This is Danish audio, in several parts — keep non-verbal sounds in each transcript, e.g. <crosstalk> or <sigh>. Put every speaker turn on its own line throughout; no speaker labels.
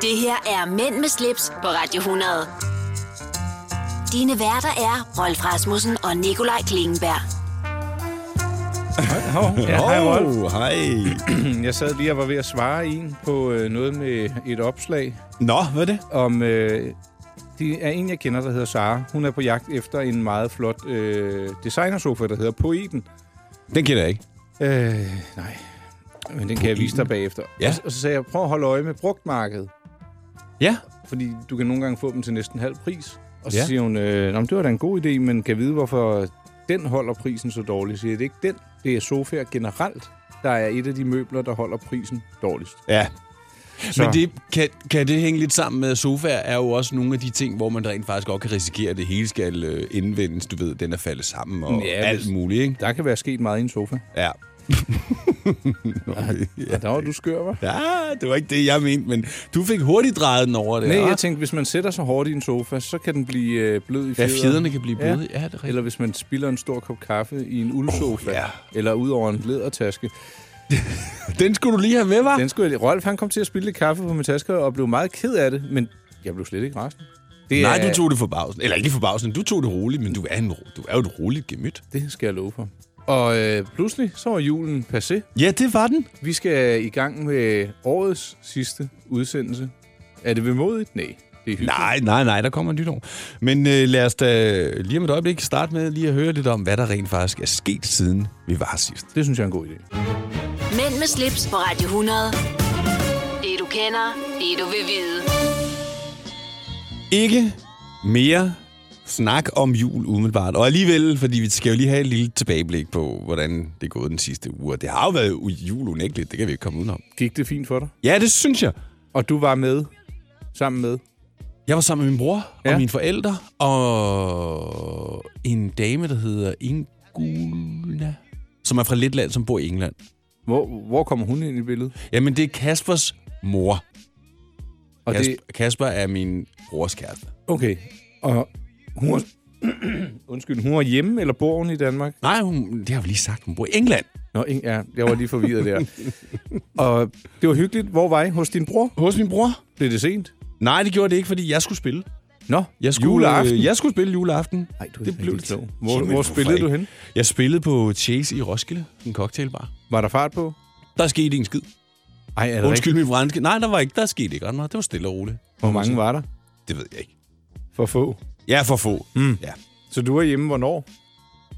Det her er Mænd med slips på Radio 100. Dine værter er Rolf Rasmussen og Nikolaj Klingenberg.
Hov, ja, hej Rolf.
Åh, hej.
Jeg sad lige og var ved at svare en på øh, noget med et opslag
Nå, hvad er det?
om... Øh, det er en, jeg kender, der hedder Sara. Hun er på jagt efter en meget flot øh, designersofa, der hedder Poeten.
Den kender jeg ikke.
Øh, nej. Men den kan jeg vise dig bagefter.
Ja.
Og, så- og så sagde jeg, prøv at holde øje med brugtmarkedet.
Ja.
Fordi du kan nogle gange få dem til næsten halv pris. Og så
Ja.
ja. siger hun, øh, Nå, men det var da en god idé, men kan vide, hvorfor den holder prisen så dårligt. Så Siger jeg, det er ikke den, det er sofaer generelt, der er et af de møbler, der holder prisen dårligst.
Ja.
Så,
Men det, kan, kan det hænge lidt sammen med, at sofaer er jo også nogle af de ting, hvor man rent faktisk godt kan risikere, at det hele skal øh, indvendes. Du ved, den er faldet sammen og ja,
Ja,
alt
hvis-
muligt, ikke?
der kan være sket meget i en sofa.
<laughs> Ja.
Ja. Og der var du skør, var?
ja, det var ikke det, jeg mente, men du fik hurtigt drejet den over det.
Nej,
hva'?
jeg tænkte, hvis man sætter sig hårdt i en sofa, så kan den blive øh, blød i
Ja,
fjederne.
fjederne kan blive
Ja.
bløde. Ja, det er rigtigt.
Eller hvis man spilder en stor kop kaffe i en uldsofa, oh,
ja.
eller ud over en lædertaske.
Den skulle du lige have med, var?
Den skulle jeg, Rolf, han kom til at spille lidt kaffe på min taske og blev meget ked af det, men jeg blev slet ikke resten. Det
Nej, du tog det forbavsen. Eller ikke forbavsen, du tog det roligt, men du er, en, ro- du er jo et roligt gemyt.
Det skal jeg love for. Og øh, pludselig, så var julen passé.
Ja, det var den.
Vi skal i gang med årets sidste udsendelse. Er det vemodigt? Nej, det er hyggeligt.
Nej, nej, nej, der kommer et nyt år. Men øh, lad os da lige om et øjeblik starte med lige at høre lidt om, hvad der rent faktisk er sket siden vi var her sidst.
Det synes jeg er en god idé.
Mænd med slips på Radio 100. Det du kender, det du vil vide.
Ikke mere snak om jul umiddelbart. Og alligevel, fordi vi skal jo lige have et lille tilbageblik på, hvordan det er gået den sidste uge. Og det har jo været u- jul unægteligt, det kan vi ikke komme udenom.
Gik det fint for dig?
Ja, det synes jeg.
Og du var med, sammen med.
Jeg var sammen med min bror og
Ja.
mine forældre og en dame, der hedder Inguna, som er fra Letland, som bor i England.
Hvor, hvor kommer hun ind i billedet?
Jamen, det er Kaspers mor.
Og det,
Kasper, Kasper er min brors kæreste.
okay. Og hun var, <clears throat> undskyld, hun var hjemme, eller bor hun i Danmark?
Nej, hun, det har vi lige sagt, hun bor i England.
Nå, ing- ja, jeg var lige forvirret <laughs> der. og det var hyggeligt. Hvor var I? Hos din bror?
Hos min bror?
Blev det sent?
Nej, det gjorde det ikke, fordi jeg skulle spille.
Nå,
Jeg skulle,
juleaften.
Øh, jeg skulle spille juleaften.
Ej, du er
Det
ikke
blev
rigtig
det.
klog. Hvor,
Jamen,
hvor
hvorfor
spillede du
ikke?
hen?
Jeg spillede på Chase i Roskilde, en cocktailbar.
Var der fart på?
Der skete ikke en skid.
Ej, er det
Undskyld min franske. Nej, der var ikke. Der skete ikke ret meget. Det var stille og roligt.
Hvor mange var der?
Det ved jeg ikke.
For få.
Jeg er for få.
Hmm.
Mm. Ja.
Så du var hjemme hvornår?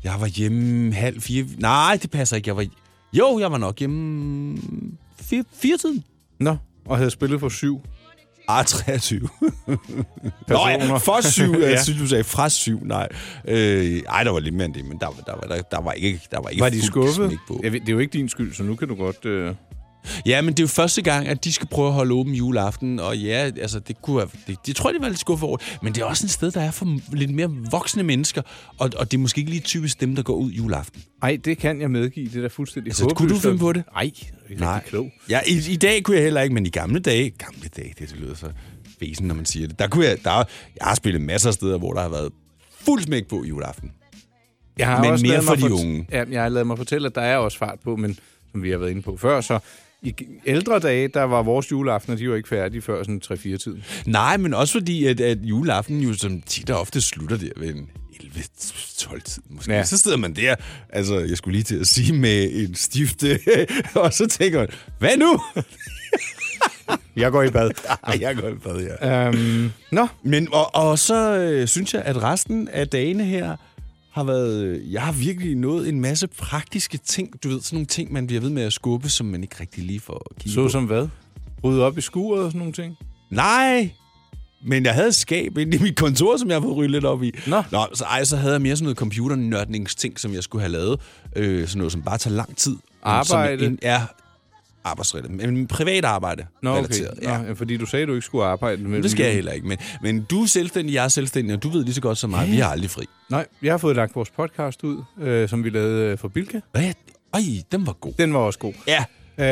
Jeg var hjemme halv fire. Nej, det passer ikke. Jeg var... Jo, jeg var nok hjemme fire, fire tiden.
Nå, og havde spillet for syv
Ah,
<laughs>
23. Nå
personer.
ja, for syv. ja.
<laughs> Ja.
Jeg synes, du sagde fra syv. Nej. Øh, ej, der var lidt mere end det, men der, var- der, var- der, der var ikke, der var ikke
Var de
fuld
skuffet?
smæk på.
Jeg ved, det er jo ikke din skyld, så nu kan du godt... Øh...
Ja, men det er jo første gang, at de skal prøve at holde åben juleaften, og ja, altså, det kunne have, det, det tror jeg, de var lidt skuffet over. Men det er også et sted, der er for m- lidt mere voksne mennesker, og, og det er måske ikke lige typisk dem, der går ud juleaften.
Ej, det kan jeg medgive. Det er da fuldstændig
Altså, kunne du
håbløst.
finde på det?
Ej, det er ikke rigtig klog.
Ja, i, i, dag kunne jeg heller ikke, men i gamle dage, gamle dage, det, det lyder så fesen, når man siger det, der kunne jeg, der, jeg har spillet masser af steder, hvor der har været fuld smæk på juleaften.
Jeg har
Men mere
ladet mig
for de
fort-
unge.
Ja, jeg har lavet mig fortælle, at der er også fart på, men som vi har været inde på før, så i g- ældre dage, der var vores juleaftener, de var ikke færdige før sådan 3-4 tiden.
Nej, men også fordi, at, at juleaften jo som tit og ofte slutter der ved en 11-12 tid måske. Ja.
Ja.
Så sidder man der, altså jeg skulle lige til at sige med en stifte, <laughs> og så tænker man, hvad nu?
<laughs> Jeg går i
<laughs>
bad.
Ej, jeg går i bad, ja.
øhm, nå,
Men, og, og så øh, synes jeg, at resten af dagene her har været... øh, Jeg har virkelig nået en masse praktiske ting. Du ved, sådan nogle ting, man bliver ved med at skubbe, som man ikke rigtig lige får kigget
så
på.
som hvad? Rydde op i skuret og sådan nogle ting?
Nej! Men jeg havde et skab inde i mit kontor, som jeg har fået ryddet lidt op i.
Nå.
Nå så, ej, så havde jeg mere sådan noget computernørdningsting, som jeg skulle have lavet. Øh, sådan noget, som bare tager lang tid. Men som
Arbejde?
en- Ja, arbejdsrettet. Men privat arbejde.
Nå, okay.
relateret,
Nå, ja. fordi du sagde, at du ikke skulle arbejde. Med
Det skal jeg heller ikke. Men, men du er selvstændig, jeg er selvstændig, og du ved lige så godt som mig, vi har aldrig fri.
Nej, jeg har fået lagt vores podcast ud, øh, som vi lavede øh, for Bilka.
Hvad? Ej, den var god.
Den var også god.
Ja,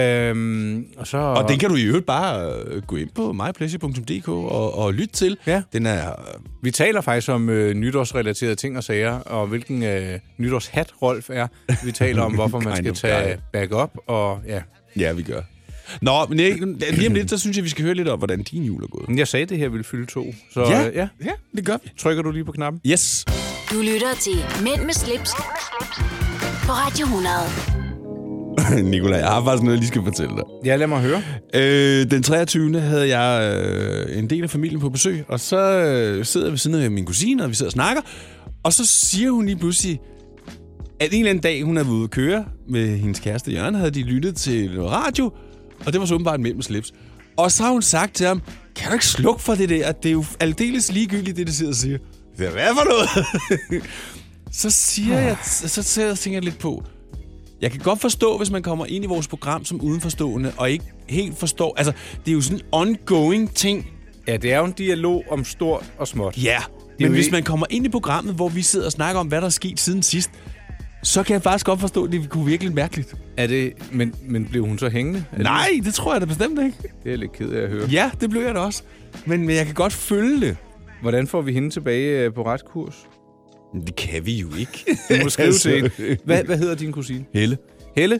Øhm, og så...
og den kan du i øvrigt bare øh, gå ind på mypleasure.dk og, og lytte til.
Ja.
Den er... øh,
Vi taler faktisk om øh, nytårsrelaterede ting og sager, og hvilken øh, <laughs> nytårshat Rolf er. Vi taler om, hvorfor man
Kind
skal
of
tage back up, og ja.
Ja, vi gør. Nå, men jeg, lige om lidt, så synes jeg, vi skal høre lidt om, hvordan din jul er gået.
Men Jeg sagde, det her ville fylde to. Så øh, ja.
ja, det gør vi.
Trykker du lige på knappen?
Yes. <laughs>
Du lytter til Mænd med slips, på Radio 100.
Nikolaj, jeg har faktisk noget, jeg lige skal fortælle dig.
Ja, lad mig høre.
Øh, den 23. havde jeg øh, en del af familien på besøg, og så øh, sidder jeg ved siden af min kusine, og vi sidder og snakker, og så siger hun lige pludselig, at en eller anden dag, hun havde været ude at køre med hendes kæreste Jørgen, havde de lyttet til noget radio, og det var så åbenbart mellem slips. Og så har hun sagt til ham, kan du ikke slukke for det der? Det er jo aldeles ligegyldigt, det de sidder og siger. Det er hvad for noget? <laughs> så siger jeg, så, så tænker jeg lidt på, jeg kan godt forstå, hvis man kommer ind i vores program som udenforstående, og ikke helt forstår... Altså, det er jo sådan en ongoing ting.
Ja, det er jo en dialog om stort og småt.
Ja. Yeah.
jo
Men hvis
ikke-
man kommer ind i programmet, hvor vi sidder og snakker om, hvad der er sket siden sidst, så kan jeg faktisk godt forstå, at det kunne virke lidt mærkeligt.
Er det, men, men blev hun så hængende? Er det-
Nej, det tror jeg da bestemt ikke.
Det er jeg lidt ked af at høre.
Ja, det blev jeg da også. Men, men jeg kan godt følge det.
Hvordan får vi hende tilbage øh, på ret kurs?
Men det kan vi jo ikke.
<laughs> Du må skrive
Altså.
til hende. Hvad, hvad hedder din kusine?
<laughs> Helle.
Helle,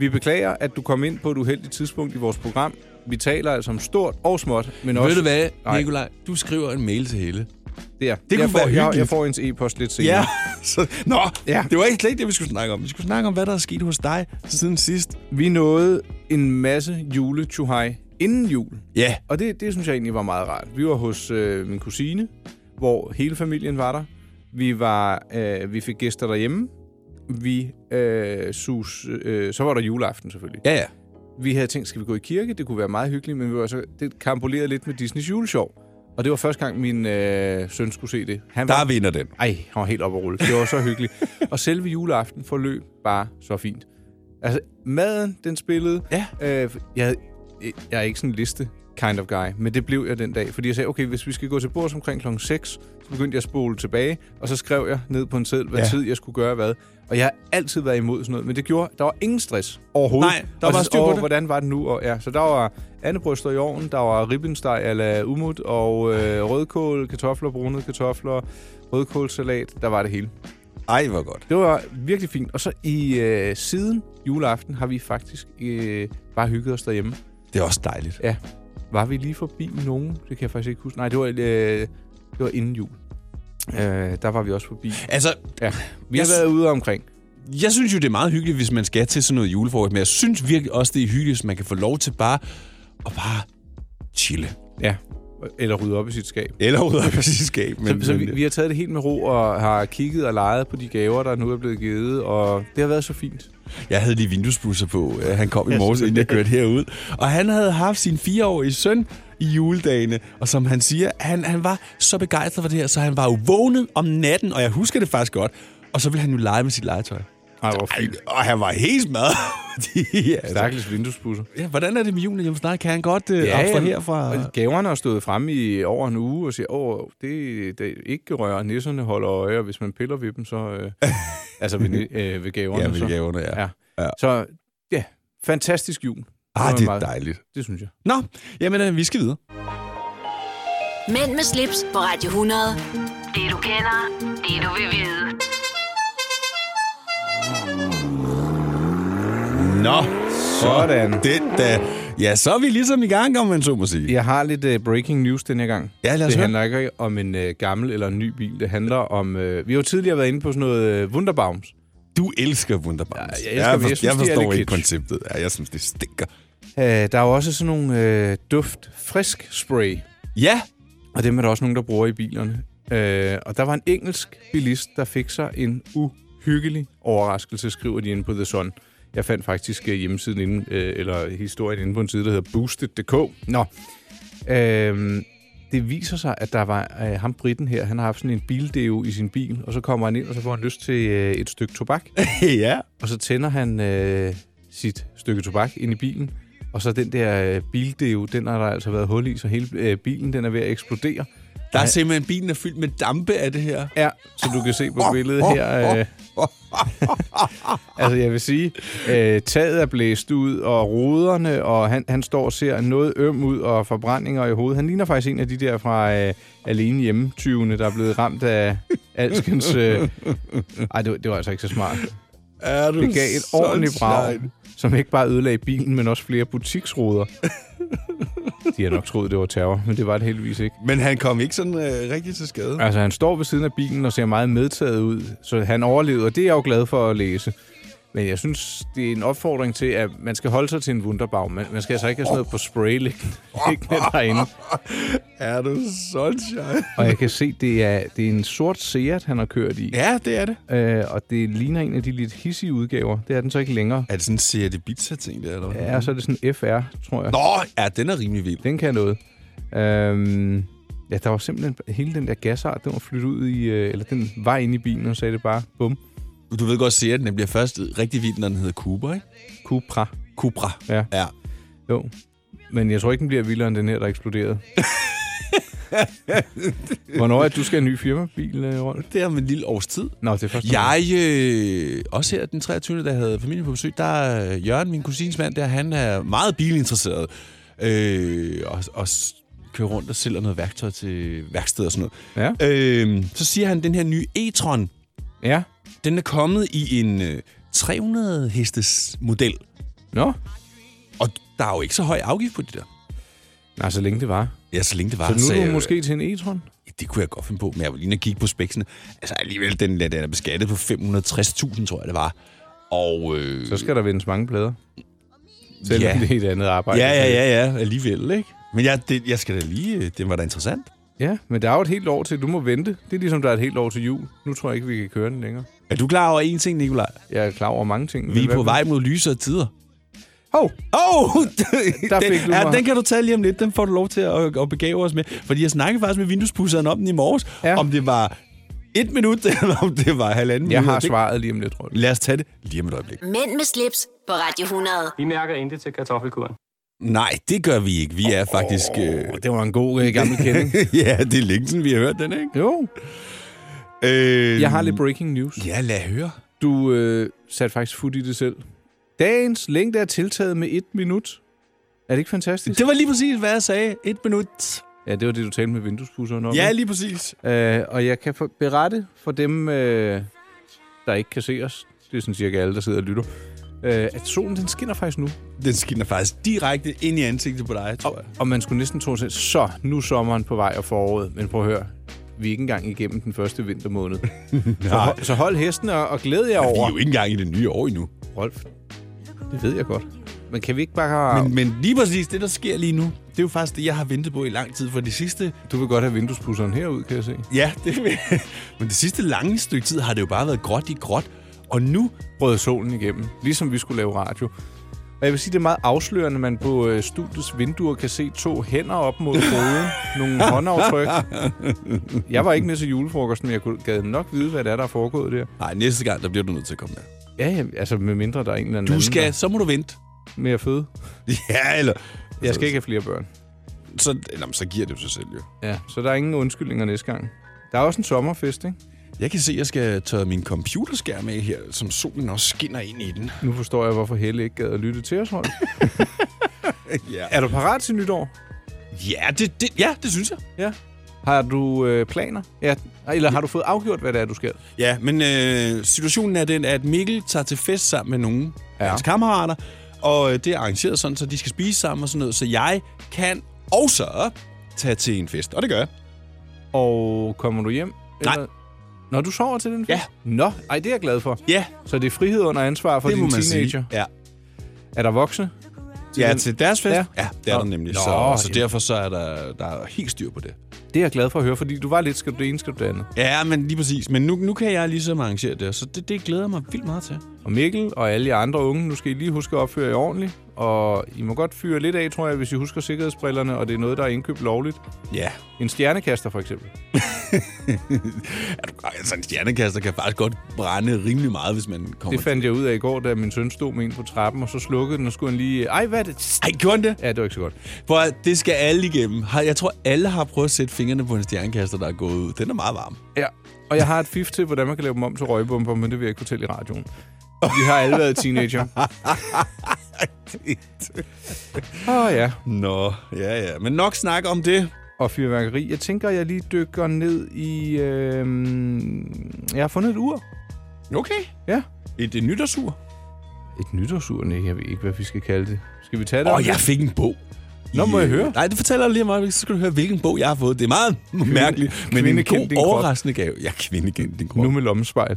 vi beklager, at du kom ind på et uheldigt tidspunkt i vores program. Vi taler altså om stort og småt, men også...
Ved du hvad,
Nej.
Nikolaj? Du skriver en mail til Helle.
Der.
kunne
jeg får,
være
jeg, jeg
hyggeligt.
får hendes e-post lidt senere.
<laughs> så, nå,
Ja.
ja. det var ikke slet ikke det, vi skulle snakke om. Vi skulle snakke om, hvad der er sket hos dig siden sidst.
Vi nåede en masse jule inden jul.
Ja,
Og det, det synes jeg egentlig var meget rart. Vi var hos øh, min kusine, hvor hele familien var der. Vi, var, øh, vi fik gæster derhjemme. Vi øh, sus, øh, så var der juleaften selvfølgelig.
ja, ja.
Vi havde tænkt, skal vi gå i kirke? Det kunne være meget hyggeligt, men vi var så, det kampolerede lidt med Disneys juleshow. Og det var første gang, min øh, søn skulle se det. Han var,
Der vinder den.
ej, han var helt op og rulle. Det var så hyggeligt. og selve juleaften forløb bare så fint. Altså, maden, den spillede.
Ja.
Øh, jeg, havde- jeg er ikke sådan en liste kind of guy, men det blev jeg den dag. Fordi jeg sagde, okay, hvis vi skal gå til bords omkring klokken 6, så begyndte jeg at spole tilbage, og så skrev jeg ned på en seddel, hvad ja.
Ja.
tid jeg skulle gøre hvad. Og jeg har altid været imod sådan noget, men det gjorde, der var ingen stress overhovedet.
Nej, der
Og
var
så-
styr på
åh,
det.
Hvordan var det nu? Og, ja, så der var andebryster i ovnen, der var ribbensteg ala umut, og øh, rødkål, kartofler, brunede kartofler, rødkålsalat, der var det hele.
Ej, hvor godt.
Det var virkelig fint. Og så i øh, siden juleaften har vi faktisk øh, bare hygget os derhjemme.
Det er også dejligt.
Ja. Var vi lige forbi nogen? Det kan jeg faktisk ikke huske. Nej, det var, øh, det var inden jul. Øh, der var vi også forbi.
Altså,
Ja. Vi
Jeg
har
s-
været ude omkring.
jeg synes jo, det er meget hyggeligt, hvis man skal til sådan noget julefrokost, men jeg synes virkelig også, det er hyggeligt, hvis man kan få lov til bare at bare chille.
Ja. Eller rydde op i sit skab.
Eller ud af præcis skab.
Men, så så vi, vi har taget det helt med ro og har kigget og leget på de gaver, der nu er blevet givet, og det har været så fint.
Jeg havde lige vinduesbusser på. Øh, Han kom i morges, inden jeg kørte herud. Og han havde haft sin fireårige søn i juledagene. Og som han siger, han, han var så begejstret for det her, så han var jo vågnet om natten. Og jeg husker det faktisk godt. Og så ville han jo lege med sit legetøj.
Ej, hvor
Ej, og han var helt smadret. <laughs> ja, altså.
Stakkels vinduesbusser.
ja, hvordan er det med julen? Jamen snart kan han godt øh, ja, abstrahere fra...
Og gaverne har stået fremme i over en uge og siger, åh, det, det er ikke rører. Nisserne holder øje, og hvis man piller ved dem, så... Øh, altså
<laughs>
ved, ni- øh, ved gaverne.
Ja, ved
så.
gaverne, ja.
Ja.
Ja.
Så ja, fantastisk jul.
Ah,
var
det er
meget-
dejligt.
Det synes jeg.
Nå, jamen øh, vi skal videre.
Mænd med slips på Radio 100. Det du kender, det du vil vide.
Nå,
Sådan.
Det, da. Ja, så er vi ligesom i gang, om man så må sige.
Jeg har lidt uh, breaking news den her gang.
Ja, lad os
det
høre.
handler ikke om en uh, gammel eller en ny bil. Det handler om... Uh, vi har jo tidligere været inde på sådan noget uh, Wunderbaums.
Du elsker Wunderbaums.
Ja, jeg elsker dem. Jeg
for-
synes,
jeg
de er
forstår
lidt
ikke
kitsch.
konceptet. Ja, jeg synes, det stinker.
Uh, der er jo også sådan nogle uh, duft-frisk spray.
Ja,
Og dem er der også nogen, der bruger i bilerne. Øh, og der var en engelsk bilist, der fik sig en uhyggelig overraskelse, skriver de inde på The Sun. Jeg fandt faktisk øh, hjemmesiden inde, øh, eller historien inde på en side, der hedder boosted.dk. Nå. Øh, det viser sig, at der var øh, ham britten her, han har haft sådan en bildeo i sin bil, og så kommer han ind, og så får han lyst til øh, et stykke tobak.
ja.
Og så tænder han øh, sit stykke tobak ind i bilen, og så den der øh, bildeo, den har der altså været hul i, så hele øh, bilen den er ved at eksplodere.
Der er simpelthen, bilen er fyldt med dampe af det <laughs> her.
Ja, som du kan se på billedet her. Øh, altså, jeg vil sige, øh, taget er blæst ud, og ruderne, og han, han står og ser noget øm ud, og forbrændinger i hovedet. Han ligner faktisk en af de der fra øh, alene hjemme der er blevet ramt af alskens... Øh... Ej, det, var- det var altså ikke så smart.
Er du
Det gav et ordentligt brag, som ikke bare ødelagde bilen, men også flere butiksruder. De har nok troet, det var terror, men det var det heldigvis ikke.
Men han kom ikke sådan øh, rigtig til skade.
<laughs>
Altså, han står ved siden af bilen og ser meget medtaget ud, så han overlevede, og det er jeg jo glad for at læse. Men jeg synes, det er en opfordring til, at man skal holde sig til en wunderbaum. Man, man skal altså ikke have sådan noget på spray liggende, liggende derinde.
Er du sunshine?
Og jeg kan se, det er, det er en sort Seat, han har kørt i.
Ja, det er det.
Øh, og det ligner en af de lidt hissige udgaver. Det er den så ikke længere.
Er det sådan en Seat Ibiza-ting, der, eller hvad?
Ja, og så er det sådan FR, tror jeg.
Nå, ja, den er rimelig vild.
Den kan noget. Øhm, ja, der var simpelthen hele den der gasart, den var flyttet ud i, øh, eller den var inde i bilen, og sagde det bare, bum,
Du ved godt, Seat, den bliver først rigtig vild, når den hedder Cooper, ikke?
Cupra.
Cupra.
Ja.
Ja.
Jo. Men jeg tror ikke, den bliver vildere end den her, der eksploderede. Hvornår er det, du skal have en ny firmabil, øh, Rolf?
Det er om en lille års tid.
Nå, det er først.
Jeg, øh, også her den 23. der havde familien på besøg, der er Jørgen, min kusins mand, der han er meget bilinteresseret. Øh, og, og s- kører rundt og sælger noget værktøj til værksted og sådan
Ja.
noget. Øh, så siger han, den her nye e-tron,
Ja.
den er kommet i en øh, 300 hestes model.
Nå.
Og der er jo ikke så høj afgift på det der.
Nej, så længe det var.
Ja, så længe det var.
Så nu
sagde
er du
jeg,
måske til en e-tron.
Det kunne jeg godt finde på, men jeg var lige inde og kigge på spæksene. Altså alligevel, den, den er beskattet på 560.000, tror jeg, det var. Og, øh,
Så skal der vendes mange plader. Selvom
Ja.
det er et andet arbejde.
ja, ja, ja, ja, alligevel, ikke? Men jeg, det, jeg skal da lige... øh, Det var da interessant.
Ja, men der er jo et helt år til. Du må vente. Det er ligesom, der er et helt år til jul. Nu tror jeg ikke, vi kan køre den længere.
Er du klar over en ting, Nikolaj?
Jeg er klar over mange ting.
Vi
Men
er
hvad-
på vej mod lysere tider.
Hov!
Åh! Oh, <laughs>
Der fik du
den, ja,
mig.
den kan du tage lige om lidt. Den får du lov til at, at begave os med. Fordi jeg snakkede faktisk med vinduespudseren om den i morges.
Ja.
Ja. Om det var et minut, <laughs> eller om det var halvanden
Jeg
minut.
har
Det-
svaret lige om lidt, Rolf.
Lad os tage det lige om et øjeblik.
Mænd med slips på Radio 100.
Vi mærker intet til kartoffelkuren.
Nej, det gør vi ikke. Vi er faktisk... Øh,
Det var en god øh, <laughs> gammel kending.
<laughs> ja, det er længe siden, vi har hørt den, ikke?
Jo,
Øh,
jeg har lidt breaking news.
Ja, lad høre.
Du øh, satte faktisk fod i det selv. Dagens længde er tiltaget med et minut. Er det ikke fantastisk?
Det var lige præcis, hvad jeg sagde. Et minut.
Ja, det var det, du talte med vinduespusseren om.
Ja,
ikke?
lige præcis.
Øh, og jeg kan for- berette for dem, øh, der ikke kan se os. Det er sådan cirka alle, der sidder og lytter. Øh, at solen, den skinner faktisk nu.
Den skinner faktisk direkte ind i ansigtet på dig, tror jeg.
Og man skulle næsten tro til, så nu er sommeren på vej og foråret. Men prøv at høre, vi er ikke engang igennem den første
<laughs>
vintermåned. så, hold, så hold hesten og, og glæd jer
Vi
over.
er jo ikke engang i det nye år endnu.
Rolf, det ved jeg godt. Men kan vi ikke bare...
Men, men lige præcis det, der sker lige nu, det er jo faktisk det, jeg har ventet på i lang tid. For det sidste...
Du vil godt have vinduespusseren herud, kan jeg se.
Ja, det <laughs> Men det sidste lange stykke tid har det jo bare været gråt i gråt. Og nu...
Brød solen igennem, ligesom vi skulle lave radio. Og jeg vil sige, det er meget afslørende, at man på øh, studiets vinduer kan se to hænder op mod <laughs> hovedet. nogle håndaftryk. Jeg var ikke med til julefrokosten, men jeg kunne gad nok vide, hvad det er, der er foregået der.
Nej, næste gang, der bliver du nødt til at komme med.
Ja, ja, altså med mindre der er en eller anden
Du skal... Så må du vente.
anden med at føde.
<laughs> Ja, eller...
Jeg skal ikke have flere børn.
Så, eller, så giver det jo sig selv, jo.
Ja, så der er ingen undskyldninger næste gang. Der er også en sommerfest, ikke?
Jeg kan se, at jeg skal tørre min computerskærm af her, som solen også skinner ind i den.
Nu forstår jeg, hvorfor Helle ikke gad at lytte til os, Holm.
<laughs> Ja,
<laughs> Er du parat til nytår?
ja, det, det, ja, det synes jeg.
Ja. Har du øh, planer? Ja. Eller har du fået afgjort, hvad det er, du skal?
Ja, men øh, situationen er den, at Mikkel tager til fest sammen med nogle af
Ja.
hans kammerater, og øh, det er arrangeret sådan, så de skal spise sammen og sådan noget, så jeg kan også tage til en fest, og det gør jeg.
Og kommer du hjem?
Nej.
Når du sover til den fest?
Ja.
Nå, ej, det er jeg glad for.
Ja,
Så det er frihed under ansvar for
det
din
må man
teenager.
sige. Ja.
Er der voksne?
ja,
den-
til deres fest.
Ja.
Ja, ja det er
Nå.
der nemlig.
Nå,
så, så
jamen.
derfor så er der, der er helt styr på det.
Det er jeg glad for at høre, fordi du var lidt, skal du det ene, skal du det andet.
Ja, men lige præcis. Men nu, nu kan jeg ligesom arrangere det, så det, det glæder jeg mig vildt meget til.
Og Mikkel og alle jer andre unge, nu skal I lige huske at opføre jer ordentligt. Og I må godt fyre lidt af, tror jeg, hvis I husker sikkerhedsbrillerne, og det er noget, der er indkøbt lovligt.
Ja,
En stjernekaster for eksempel.
Er du, altså en stjernekaster kan faktisk godt brænde rimelig meget, hvis man kommer...
Det fandt jeg ud af i går, da min søn stod med en på trappen, og så slukkede den, og skulle han lige... Ej, hvad er det?
Ej, gjorde han det?
Ja, det var ikke så godt.
Prøv at, det skal alle igennem. Har- Jeg tror, alle har prøvet at sætte fingrene på en stjernekaster, der er gået ud. Den er meget varm.
Ja, og jeg har et fif til, hvordan man kan lave dem om til røgbomber, men det vil jeg ikke fortælle i radioen. Vi har alle været <laughs> teenager. Åh oh, ja,
<laughs> Nå, ja, ja. Men nok snak om det.
og fyrværkeri. Jeg tænker, jeg lige dykker ned i... Øh... Jeg har fundet et ur.
Okay.
Ja,
Et, et nytårsur?
Et nytårsur? Nej, jeg ved ikke, hvad vi skal kalde det. Skal vi tage det?
Åh,
om
oh, jeg
lidt?
fik en bog.
Nå, må
I,
jeg
øh,
høre?
Nej, det fortæller jeg lige meget. Så skal du høre, hvilken bog jeg har fået. Det er meget mærkeligt, men
kvinde
en
kend
god,
din krop.
overraskende gave. Ja, kvinde kendte din krop.
Nu med lommespejl.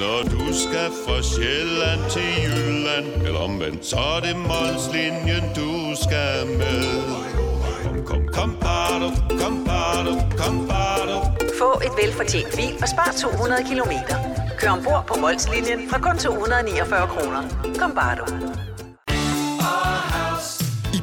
Når du skal fra Sjælland til Jylland Eller omvendt, så er det Molslinjen, du skal med Kom, kom, kom, bado, kom, bado, kom, bado.
Få et velfortjent bil og spar 200 kilometer. Kør ombord på Molslinjen fra kun 249 kroner. Kom bare du.
I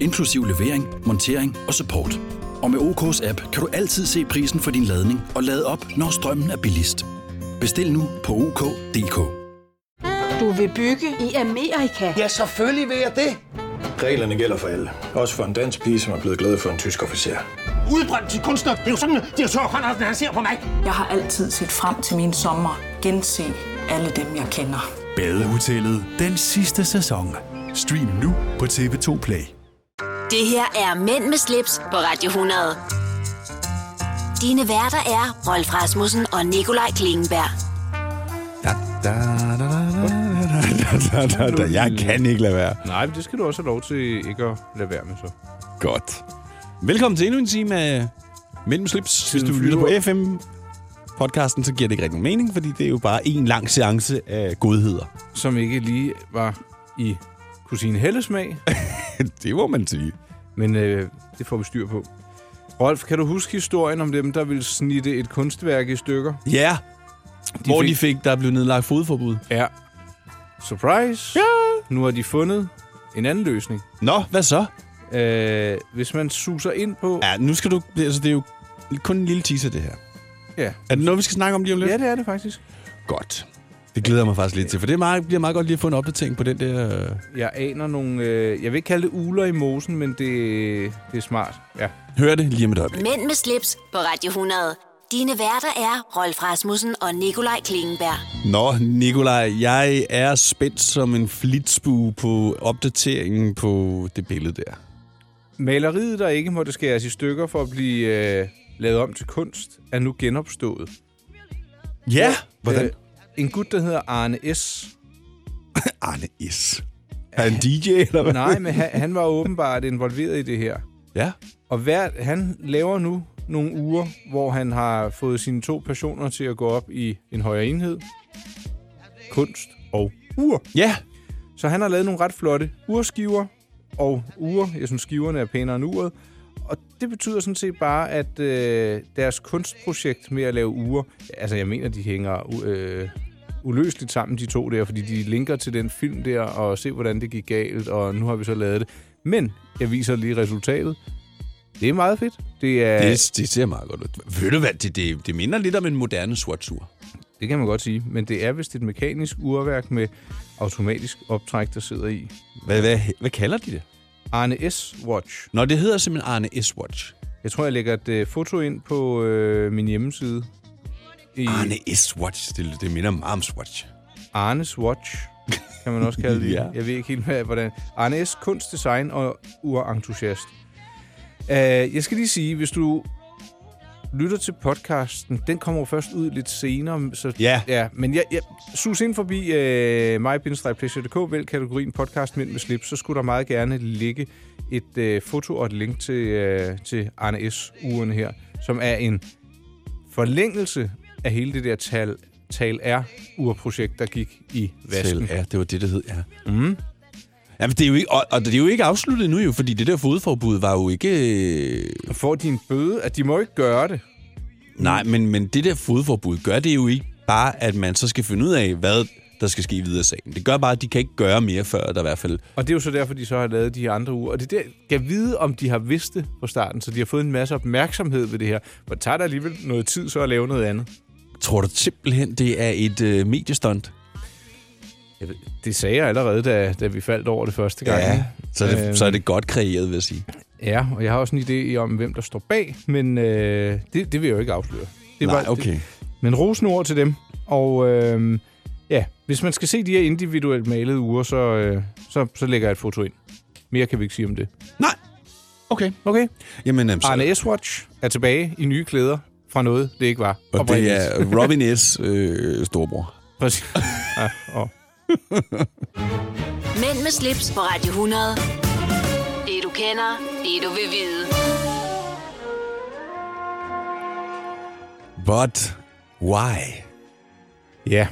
inklusiv levering, montering og support. Og med OK's app kan du altid se prisen for din ladning og lade op, når strømmen er billigst. Bestil nu på OK.dk.
Du vil bygge i Amerika?
Ja, selvfølgelig vil jeg det. Reglerne gælder for alle. Også for en dansk pige, som er blevet glad for en tysk officer.
udbrændt til kunstner. Det er jo sådan, at de har tørt, han ser på mig. Jeg har altid set frem til min sommer. Gense alle dem, jeg kender.
Badehotellet den sidste sæson. Stream nu på TV2 Play.
Det her er Mænd med slips på Radio 100. Dine værter er Rolf Rasmussen og Nikolaj Klingenberg.
Da, da, da, da, da, da, da, da, da. Jeg kan ikke lade være.
Nej, men det skal du også have lov til ikke at lade være med så.
Godt. Velkommen til endnu en time af Mellem Slips. Hvis
Tiden
du lytter på
flyver.
FM podcasten, så giver det ikke rigtig nogen mening, fordi det er jo bare en lang seance af godheder. <laughs>
Som ikke lige var i kusine Helles <laughs> smag,
det må man sige.
men øh, det får vi styr på. Rolf, kan du huske historien om dem, der ville snitte et kunstværk i stykker?
Ja. Hvor
fik-
de fik, der blev nedlagt fodforbud.
Ja. Surprise! Ja! Nu har de fundet en anden løsning.
Nå, hvad så?
Øh, hvis man suser ind på...
Ja, nu skal du... Altså, det er jo kun en lille teaser, det her.
Ja.
Er det noget, vi skal snakke om lige om lidt?
ja, det er det faktisk.
Godt. Det glæder jeg mig faktisk lidt til, for det er meget, bliver meget godt lige at få en opdatering på den der... øh,
Jeg aner nogle... Øh, jeg vil ikke kalde det uler i mosen, men det, det er smart. Ja.
Hør det lige om et øjeblik.
Mænd med slips på Radio 100. Dine værter er Rolf Rasmussen og Nikolaj Klingenberg.
Nå, Nikolaj, jeg er spændt som en flitsbue på opdateringen på det billede der.
Maleriet, der ikke måtte skæres i stykker for at blive øh, lavet om til kunst, er nu genopstået.
Ja! Hvordan?
Øh, en gut, der hedder Arne S.
Arne Is. Er han DJ, eller hvad?
Nej, men han, han var åbenbart involveret i det her.
Ja.
Og hver, han laver nu nogle uger, hvor han har fået sine to personer til at gå op i en højere enhed. Kunst og ur.
Ja,
Så han har lavet nogle ret flotte urskiver og ure. Jeg synes, skiverne er pænere end uret. Og det betyder sådan set bare, at øh, deres kunstprojekt med at lave ure... Altså, jeg mener, de hænger u- øh, uløseligt sammen, de to der, fordi de linker til den film der, og se, hvordan det gik galt, og nu har vi så lavet det. Men jeg viser lige resultatet. Det er meget fedt. Det, er, det...
det, det ser meget godt ud. Ved du hvad, det, det, det minder lidt om en moderne sortsur.
det kan man godt sige. Men det er vist et mekanisk urværk med automatisk optræk, der sidder i.
Hvad, hvad, hvad kalder de det?
Arne S. Watch.
Nå, det hedder simpelthen Arne S. Watch.
Jeg tror, jeg lægger et øh, foto ind på øh, min hjemmeside. I
Arne S. Watch, det, det minder meget om Swatch.
Arnes Watch, kan man også
<laughs>
kalde det.
Ja.
Jeg ved ikke helt, hvad, hvordan. Arne S. Kunst, Design og Urentusiast. Uh, jeg skal lige sige, hvis du lytter til podcasten, den kommer jo først ud lidt senere. Så,
Ja.
ja. Men jeg, jeg sus ind forbi øh, mig-pleasure.dk, vælg kategorien podcast Mænd med slips, så skulle der meget gerne ligge et øh, foto og et link til, øh, til Arne S-uren her, som er en forlængelse af hele det der tal, tal R-urprojekt, der gik i vasken.
Ja, det var det, det hed, ja. Mm. Jamen, det er jo ikke, og, og det er jo ikke afsluttet nu, jo, fordi det der fodforbud var jo ikke... øh,
Får de en bøde, at de må ikke gøre det.
Nej, men, men det der fodforbud gør det jo ikke bare, at man så skal finde ud af, hvad der skal ske videre i sagen. Det gør bare, at de kan ikke gøre mere, før der i hvert fald...
Og det er jo så derfor, de så har lavet de her andre uger. Og det er der, kan vide, om de har vidst det fra starten, så de har fået en masse opmærksomhed ved det her. For det tager det alligevel noget tid så at lave noget andet.
Tror du simpelthen, det er et øh, mediestunt?
Jeg ved- Det sagde jeg allerede, da, da vi faldt over det første gang.
Ja,
ikke?
så er,
Øhm,
det, så er det godt kreeret, vil jeg sige.
Ja, og jeg har også en idé om, hvem der står bag, men øh, det, det vil jeg jo ikke afsløre. Det
Nej,
var-
okay.
Det, men rosende ord til dem. Og øh, ja, hvis man skal se de her individuelt malede uger, så, øh, så, så lægger jeg et foto ind. Mere kan vi ikke sige om det.
Nej. Okay.
Okay.
Jamen, øhm, så-
Arne S-Watch er tilbage i nye klæder fra noget, det ikke var.
Og det
oprindeligt.
<laughs> er Robin S. Øh, storbror.
Præcis.
<laughs>
Ja, og
Mænd med slips på Radio 100. Det du kender, det du vil vide.
But why?
Ja.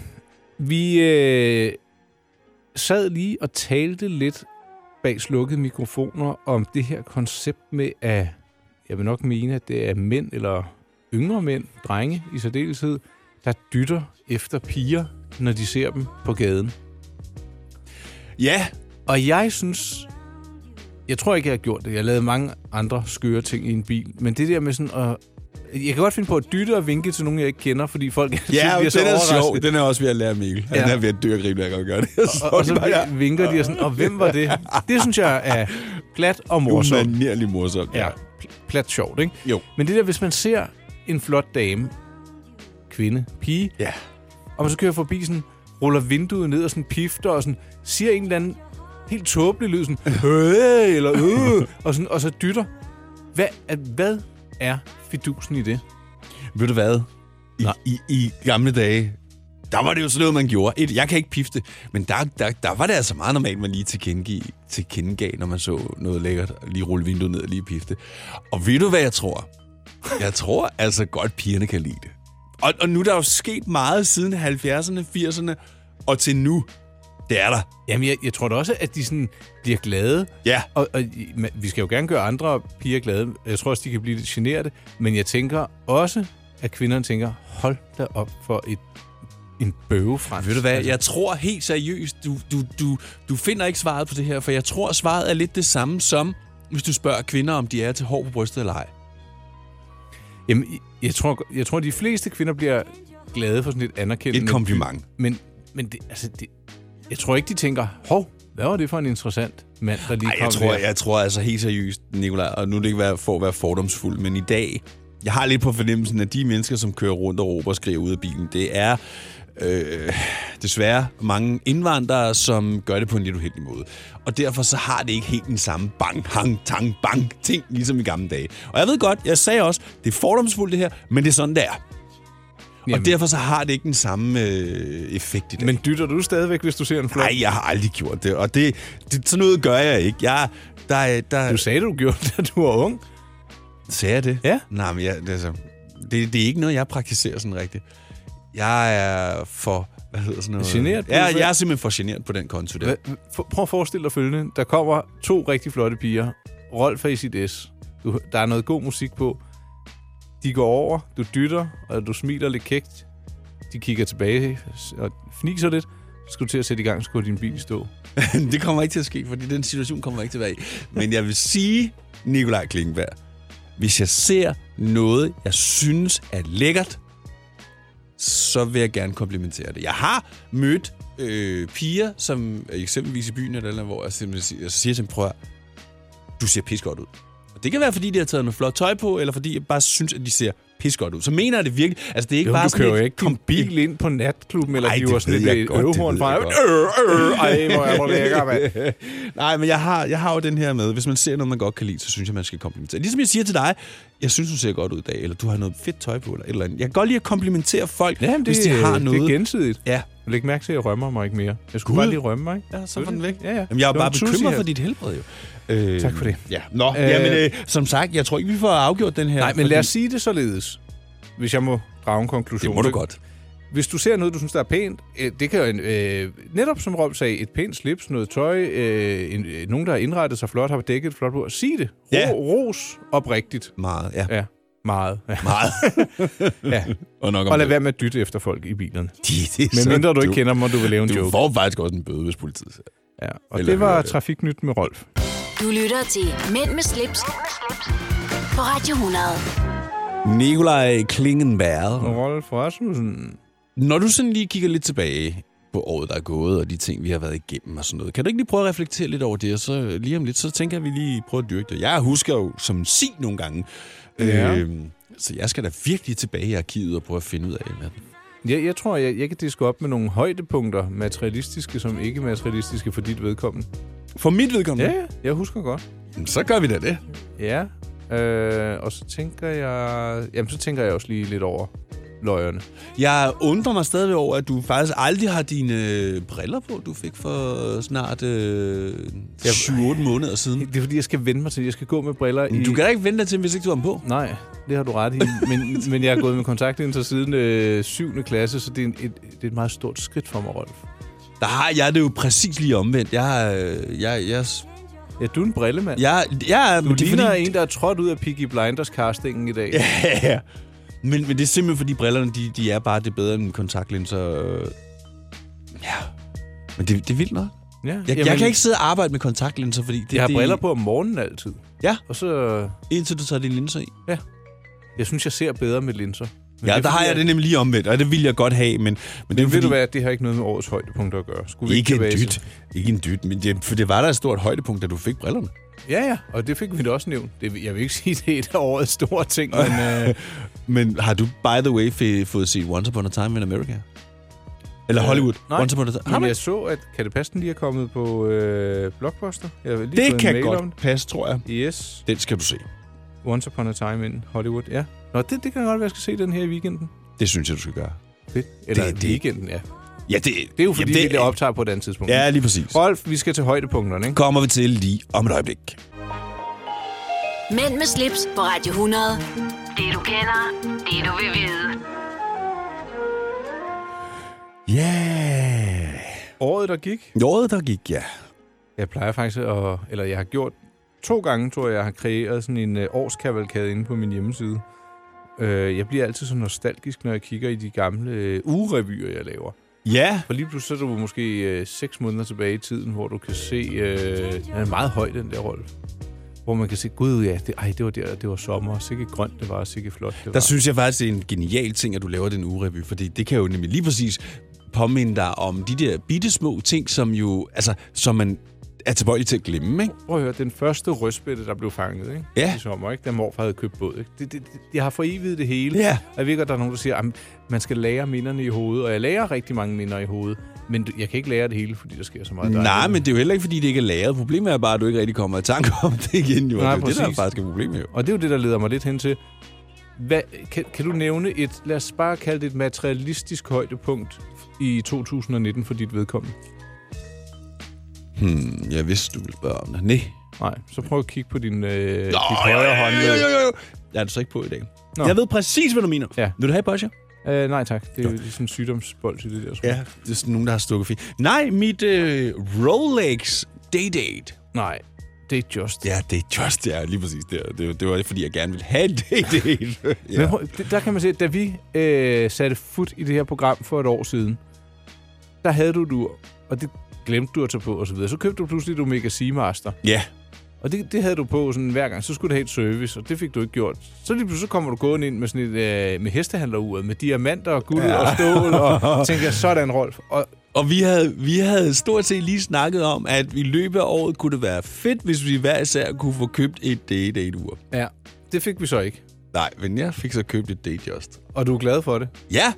Vi øh, sad lige og talte lidt bag slukkede mikrofoner om det her koncept med, at jeg vil nok mene, at det er mænd eller yngre mænd, drenge i særdeleshed, der dytter efter piger, når de ser dem på gaden.
Ja.
Og jeg synes, jeg tror ikke, jeg har gjort det. Jeg lavede mange andre skøre ting i en bil. Men det der med sådan at... Jeg kan godt finde på at dytte og vinke til nogen, jeg ikke kender, fordi <laughs> folk
Ja,
bliver
den
så
er sjov.
overrasket.
Den er også ved at lære Mikkel. Ja.
Ja.
Den er ved at dyrke rimelig, jeg kan godt gøre det. Jeg
Og,
<laughs>
og
det
så
bare-
vinker de og sådan, og hvem var det? Det synes jeg er glat og morsomt.
Umanerlig morsomt.
Ja, pl- plat sjovt, ikke?
Jo.
Men det der, hvis man ser en flot dame, kvinde, pige,
ja.
og man så kører forbi sådan, ruller vinduet ned og sådan pifter og sådan, siger en eller anden helt tåbelig lyd, sådan, øh, eller øh, og, sådan, og så dytter. Hvad, at, hvad er fidusen i det?
Ved du hvad? I, i, I gamle dage, der var det jo sådan noget, man gjorde. Et, jeg kan ikke pifte, men der, der, der var det altså meget normalt, man lige tilkendegav, tilkendegav, når man så noget lækkert, og lige rulle vinduet ned og lige pifte. Og ved du, hvad jeg tror? Jeg tror altså godt, pigerne kan lide det. Og, og nu er der jo sket meget siden 70'erne, 80'erne, og til nu. Det er der.
Jamen, jeg, jeg tror da også, at de sådan bliver glade.
Ja.
Og, og i- men vi skal jo gerne gøre andre piger glade. Jeg tror også, de kan blive lidt generet. Men jeg tænker også, at kvinderne tænker, hold da op for et, en bøve Altså, fransk.
Ved du hvad, jeg tror helt seriøst, du, du, du, du finder ikke svaret på det her, for jeg tror, svaret er lidt det samme som, hvis du spørger kvinder, om de er til hår på brystet eller ej.
Jamen, jeg- jeg tror, jeg tror, de fleste kvinder bliver glade for sådan et anerkendende...
Et kompliment.
Men, men det, altså, det, jeg tror ikke, de tænker, hov, hvad var det for en interessant mand, der lige
Ej,
kom
jeg tror,
her?
jeg tror altså helt seriøst, Nicolaj, og nu er det ikke være- for at være fordomsfuld, men i dag, jeg har lidt på fornemmelsen, at de mennesker, som kører rundt og råber og skriger ud af bilen, det er øh, desværre mange indvandrere, som gør det på en lidt uheldig måde. Og derfor så har det ikke helt den samme bang, hang, tang, bang ting, ligesom i gamle dage. Og jeg ved godt, jeg sagde også, det er fordomsfuldt det her, men det er sådan, det er.
Jamen.
Og derfor så har det ikke den samme øh, effekt i dag.
Men dytter du stadigvæk, hvis du ser en flot?
Nej, jeg har aldrig gjort det, og det, det sådan noget gør jeg ikke. Jeg, der, er- der,
Du sagde, du gjorde <laughs> det, da du var ung.
Sagde jeg det?
Ja.
Nej, men jeg, det, er altså, det, det er ikke noget, jeg praktiserer sådan rigtigt. Jeg er for... Hvad hedder sådan noget?
Genert på
Ja,
det, så?
jeg er simpelthen for generet på den konto der.
Hva- for- Prøv at forestille dig følgende. Der kommer to rigtig flotte piger. Rolf er i sit S. Du, der er noget god musik på. De går over, du dytter, og du smiler lidt kægt. De kigger tilbage og fniser lidt. Så skal du til at sætte i gang, så går din bil i stå.
<laughs> det kommer ikke til at ske, fordi den situation kommer jeg ikke tilbage i. Men jeg vil sige, Nikolaj Klingberg, hvis jeg ser noget, jeg synes er lækkert, så vil jeg gerne komplimentere det. Jeg har mødt øh, piger, som er eksempelvis i byen eller et eller andet, hvor jeg simpelthen siger, jeg siger til dem, prøv at høre, du ser pis godt ud. Og det kan være, fordi de har taget noget flot tøj på, eller fordi jeg bare synes, at de ser pis godt ud. Så mener jeg det virkelig. Altså, det er ikke
Jo,
bare
du kører jo
et
ikke din
kombi-
bil ind på natklubben, eller
Ej,
hiver
det
sådan
ved jeg
et
godt, det
øvehorn
ved
fra.
jeg
Øh, øh, ej, hvor er du lækker,
<laughs>
mand.
Nej, men jeg har, jeg har jo den her med, hvis man ser noget, man godt kan lide, så synes jeg, man skal komplimentere. Ligesom jeg siger til dig, jeg synes, du ser godt ud i dag, eller du har noget fedt tøj på, eller et eller andet. Jeg kan godt lide at komplimentere folk,
Jamen, det,
hvis de har noget.
det er gensidigt.
Ja.
Læg mærke til, at jeg rømmer mig ikke mere. Jeg skulle
Gud.
bare lige rømme mig, ikke?
Ja, så var den væk.
Ja, ja.
Jamen, jeg er
Det var
bare
en sushi
bekymret
her.
for dit helbred, jo. Øh,
Tak for det.
Ja. Nå,
Øh,
øh, jamen, øh, som sagt, jeg tror ikke, vi får afgjort den her.
Nej, men lad os sige det således, hvis jeg må drage en konklusion.
Det må du godt.
Hvis du ser noget, du synes, der er pænt, øh, det kan jo en, øh, netop som Rob sagde, et pænt slips, noget tøj, øh, en, øh, nogen, der har indrettet sig flot, har dækket et flot bord. Sig det. Ro,
Ja.
Ros oprigtigt.
Meget, ja.
Ja, <laughs> meget. Ja.
Meget.
ja.
Og nok om
Og lad
det.
være med at dytte efter folk i bilerne.
<laughs> Det- det er så
Men mindre du ikke
dumt.
kender dem, og du vil lave en
Du
joke.
får faktisk også en bøde, hvis politiet ser.
Ja. Og
Eller
det var
hører det.
Trafiknyt med Rolf.
Du lytter til Mænd med slips, på Radio 100.
Nikolaj Klingenberg.
Rolf Rasmussen.
Når du sådan lige kigger lidt tilbage på året, der er gået, og de ting, vi har været igennem og sådan noget. Kan du ikke lige prøve at reflektere lidt over det, og så lige om lidt, så tænker jeg, at vi lige prøver at dyrke det. Jeg husker jo som sig nogle gange.
Ja.
Øhm, så jeg skal da virkelig tilbage i arkivet og prøve at finde ud af, hvad den
Jeg, jeg tror, jeg, jeg kan diske op med nogle højdepunkter, materialistiske som ikke-materialistiske, for dit vedkommende.
For mit vedkommende?
Ja, ja. jeg husker godt.
Jamen, så gør vi da det.
Ja, øh, og så tænker jeg... Jamen, så tænker jeg også lige lidt over løjerne.
Jeg undrer mig stadig over, at du faktisk aldrig har dine øh, briller på, du fik for snart øh, 7-8 måneder siden.
Det er fordi, jeg skal vende mig til, jeg skal gå med briller i...
Du kan da ikke vente dig til, hvis ikke du har dem på.
Nej, det har du ret i. Men, <laughs> men jeg har gået med kontaktlinser siden øh, 7. klasse, så det er, en, et, det er et meget stort skridt for mig, Rolf.
Der har jeg det jo præcis lige omvendt. Jeg, øh, jeg, jeg,
Ja, du er en brillemand.
jeg, jeg
du ligner fordi... en, der er trådt ud af Piggy Blinders-castingen i dag.
<laughs> Ja, ja. Men, men det er simpelthen, fordi brillerne, de, de er bare det bedre end kontaktlinser. øh. Ja. Men det, det er vildt nok.
Ja,
Jeg, Jamen, jeg kan ikke sidde og arbejde med kontaktlinser, fordi... Det,
Jeg har
det,
briller på om morgenen altid.
Ja.
Og så... øh,
Indtil du tager dine linser i.
Jeg synes, jeg ser bedre med linser. Men
Ja,
er
der har
fordi,
jeg det nemlig lige omvendt, og det vil jeg godt have, men... Men, men
Men ved du hvad, det har ikke noget med årets højdepunkter at gøre. Skulle vi
Ikke en
tilbage til-
dyt. Ikke en dyt, men det, for det var da et stort højdepunkt, da du fik brillerne.
Ja, ja, og det fik vi da også nævnt. Det, jeg vil ikke <laughs> sige, det er et af årets store ting, men øh,
Men har du, by the way, fe- fået set Once Upon a Time in America? Eller Hollywood?
Øh, nej.
Once Upon a Time. Har
men
man?
jeg så, at Kattepasten lige er kommet på øh, Blockbuster. Jeg har lige fået
Det
en
kan
mail om
godt passe, tror jeg.
det. Yes.
Den skal du se.
Once Upon a Time in Hollywood, ja. Nå, det, det kan godt være, at jeg skal se den her i weekenden.
Det synes jeg, du skal gøre.
Fedt. Eller det,
Det- det-
det, weekenden, ja.
Ja, det,
Det er jo fordi,
Jamen,
det, vi optager på et andet tidspunkt.
Ja, lige præcis.
Rolf, vi skal til højdepunkterne, ikke?
Kommer vi til lige om et øjeblik.
Mænd med slips på Radio 100. Det du kender, det du vil vide.
Ja.
Året, der gik.
Yeah. Året, der gik, ja.
Jeg plejer faktisk at... Eller jeg har gjort to gange, tror jeg, jeg har kreeret sådan en øh, årskavalkade inde på min hjemmeside. Øh, jeg bliver altid så nostalgisk, når jeg kigger i de gamle øh, ugerevyer, jeg laver.
Ja.
For lige pludselig så er du måske øh, 6 måneder tilbage i tiden, hvor du kan se... Øh, den er meget høj, den der Rolf. Hvor man kan se, gud ja, det, ej, det var der, det var sommer, og sikke grønt det var, og sikke flot det var.
Der synes jeg faktisk, det er en genial ting, at du laver den ugerevy, fordi det kan jo nemlig lige præcis påminde dig om de der bitte små ting, som jo, altså, som man er tilbøjelig til at glemme, ikke?
Prøv at høre, den første røstbætte, der blev fanget ikke?
Ja.
i sommer, ikke? den morfar havde købt båd. Ikke? Det, det, det, jeg har forevidet det hele.
Ja.
Og jeg ved godt, der er nogen, der siger, at man skal lære minderne i hovedet, og jeg lærer rigtig mange minder i hovedet, men du- jeg kan ikke lære det hele, fordi der sker så meget.
Nej,
dejligt.
men det er jo heller ikke, fordi det ikke er lagret. Problemet er bare, at du ikke rigtig kommer i tanke om det igen, jo.
Nej,
Nej, det er jo det, der er
præcis.
faktisk er problemet, jo.
Og det er jo det, der leder mig lidt hen til, hvad, kan, kan du nævne et, lad os bare kalde det et materialistisk højdepunkt i 2019 for dit vedkommende?
Hmm, jeg vidste, du ville spørge om det. Nej.
Nej, så prøv at kigge på din, øh, dit
Nå, jo,
højre
jo,
hånd.
jo, jo, jo, jo. Jeg er det så ikke på i dag.
Nå.
Jeg ved præcis, hvad du mener.
Ja.
Vil du have Bosja?
Øh, nej tak, det er jo sådan en sygdomsbold i det der. tror jeg.
Det er sådan nogen, der har stukket fint. Nej, mit øh, Rolex Day-Date.
Nej, det er just.
Ja, det er just, ja, lige præcis. Det, det, det var fordi, jeg gerne ville have en Day-Date.
Ja. Men prøv- det- der kan man se, at da vi øh, satte fod i det her program for et år siden, der havde du du og det glemte du at tage på osv. Så, videre. så købte du pludselig et Omega Seamaster.
ja.
Og det, det havde du på sådan hver gang. Så skulle du have et service, og det fik du ikke gjort. Så lige pludselig kommer du gående ind med sådan et, øh, med hestehandleruret, med diamanter og guld ja. og stål, <laughs> og tænker, sådan Rolf. Og
Og vi havde, vi havde stort set lige snakket om, at i løbet af året kunne det være fedt, hvis vi hver især kunne få købt et Day-Date-ur.
ja, det fik vi så ikke.
Nej, men jeg fik så købt et Day-Just.
Og du er glad for det.
Ja,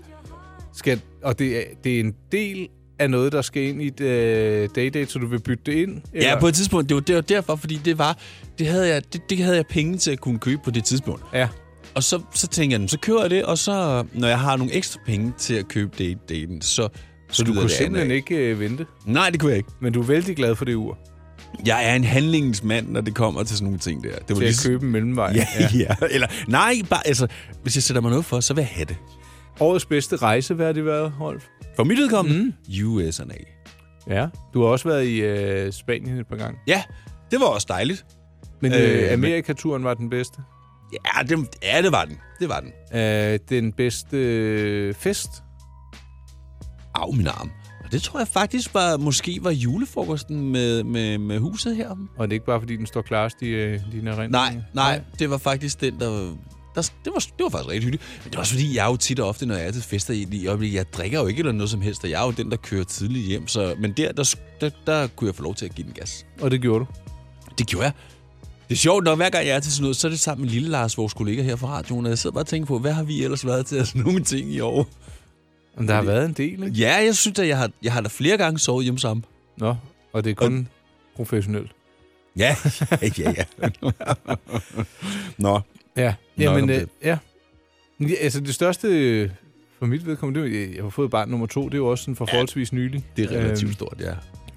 Skal, og det er, det er en del af noget, der skal ind i et øh, day-date, så du vil bytte det ind?
Ja, på et tidspunkt. Det var, det var derfor, fordi det var... Det havde, jeg, det, det havde jeg penge til at kunne købe på det tidspunkt.
Ja.
Og så, så tænkte jeg, "Nå, så kører jeg det, og så, når jeg har nogle ekstra penge til at købe date, daten, så...
Så du
skyder
kunne
det andet
simpelthen
af.
ikke øh, vente.
Nej, det kunne jeg ikke.
Men du er vældig glad for det ur.
Jeg er en handlingsmand, når det kommer til sådan nogle ting der. Det
Til at
så-
købe en mellemvej.
<laughs> Ja, ja. ja. Eller, nej, bare, altså, hvis jeg sætter mig noget for, så vil jeg have det.
Årets bedste rejse, hvad har det været, Rolf?
For mit udkommende, mm. USA.
Ja. Du har også været i øh, Spanien et par gange.
Ja, det var også dejligt.
Men
Øh,
øh,
men-
Amerikaturen var den bedste.
Ja, det, ja, det var den. Det var den.
Øh, den bedste øh, fest.
Au, min arm. Og det tror jeg faktisk var, måske var julefrokosten med, med, med huset her.
Og det er ikke bare, fordi den står klarest i øh, dine erindringer.
Nej, nej, det var faktisk den, der der, det, var, det var faktisk rigtig hyggeligt. Men det var også fordi, jeg er jo tit og ofte, når jeg er til fester i, i øjeblikket, jeg drikker jo ikke eller noget som helst, og jeg er jo den, der kører tidligt hjem. Så, men der, der, der, der kunne jeg få lov til at give den gas.
Og det gjorde du?
Det gjorde jeg. Det er sjovt, når hver gang jeg er til sådan noget, så er det sammen med Lille Lars, vores kollega her fra radioen, og jeg sidder bare og tænker på, hvad har vi ellers været til at sådan nogle ting i år?
Men der har været en del, ikke?
Ja, jeg synes, at jeg har, jeg har da flere gange sovet hjemme sammen.
Nå, og det er kun og... professionelt.
Ja, ja, ja. Nå.
Ja,
Nok om
Jamen, øh,
det.
ja. ja. Altså, det største øh, for mit vedkommende, det er, jo- jeg har fået barn nummer to, det er jo også sådan for forholdsvis nylig.
Det er relativt
Øhm,
stort, ja.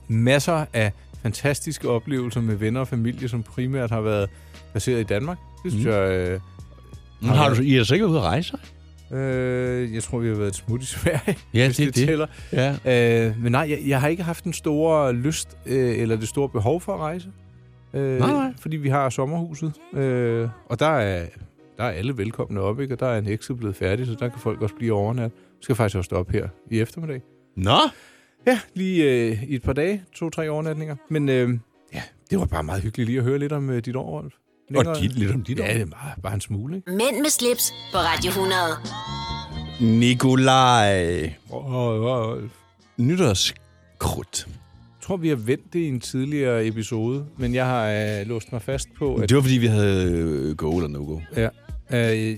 Masser af fantastiske oplevelser med venner og familie, som primært har været baseret i Danmark. Det synes
Mm.
mm. jeg... Øh,
Men har du, I er så ikke ude at rejse?
Øh, jeg tror, vi har været et smut i Sverige,
Ja,
hvis
det er
det,
det.
tæller. Ja. Øh, men nej, jeg, jeg har ikke haft den store lyst øh, eller det store behov for at rejse. Øh,
Nej, nej.
Fordi vi har sommerhuset, øh, og der er, der er alle velkomne op, ikke? og der er en ekse blevet færdig, så der kan folk også blive overnat. Vi skal faktisk også stoppe her i eftermiddag.
Nå!
Ja, lige øh, i et par dage, to-tre overnatninger. Men øh, ja, det var bare meget hyggeligt lige at høre lidt om øh, dit år, Rolf.
dit- lidt om dit år.
Ja, det er bare, bare en smule, ikke?
Mænd med slips på Radio 100.
Nikolaj.
Rolf.
Nytårskrudt.
Jeg tror, vi har vendt det i en tidligere episode, men jeg har øh, låst mig fast på, at
Det var, fordi vi havde øh, go eller no-go.
ja, øh,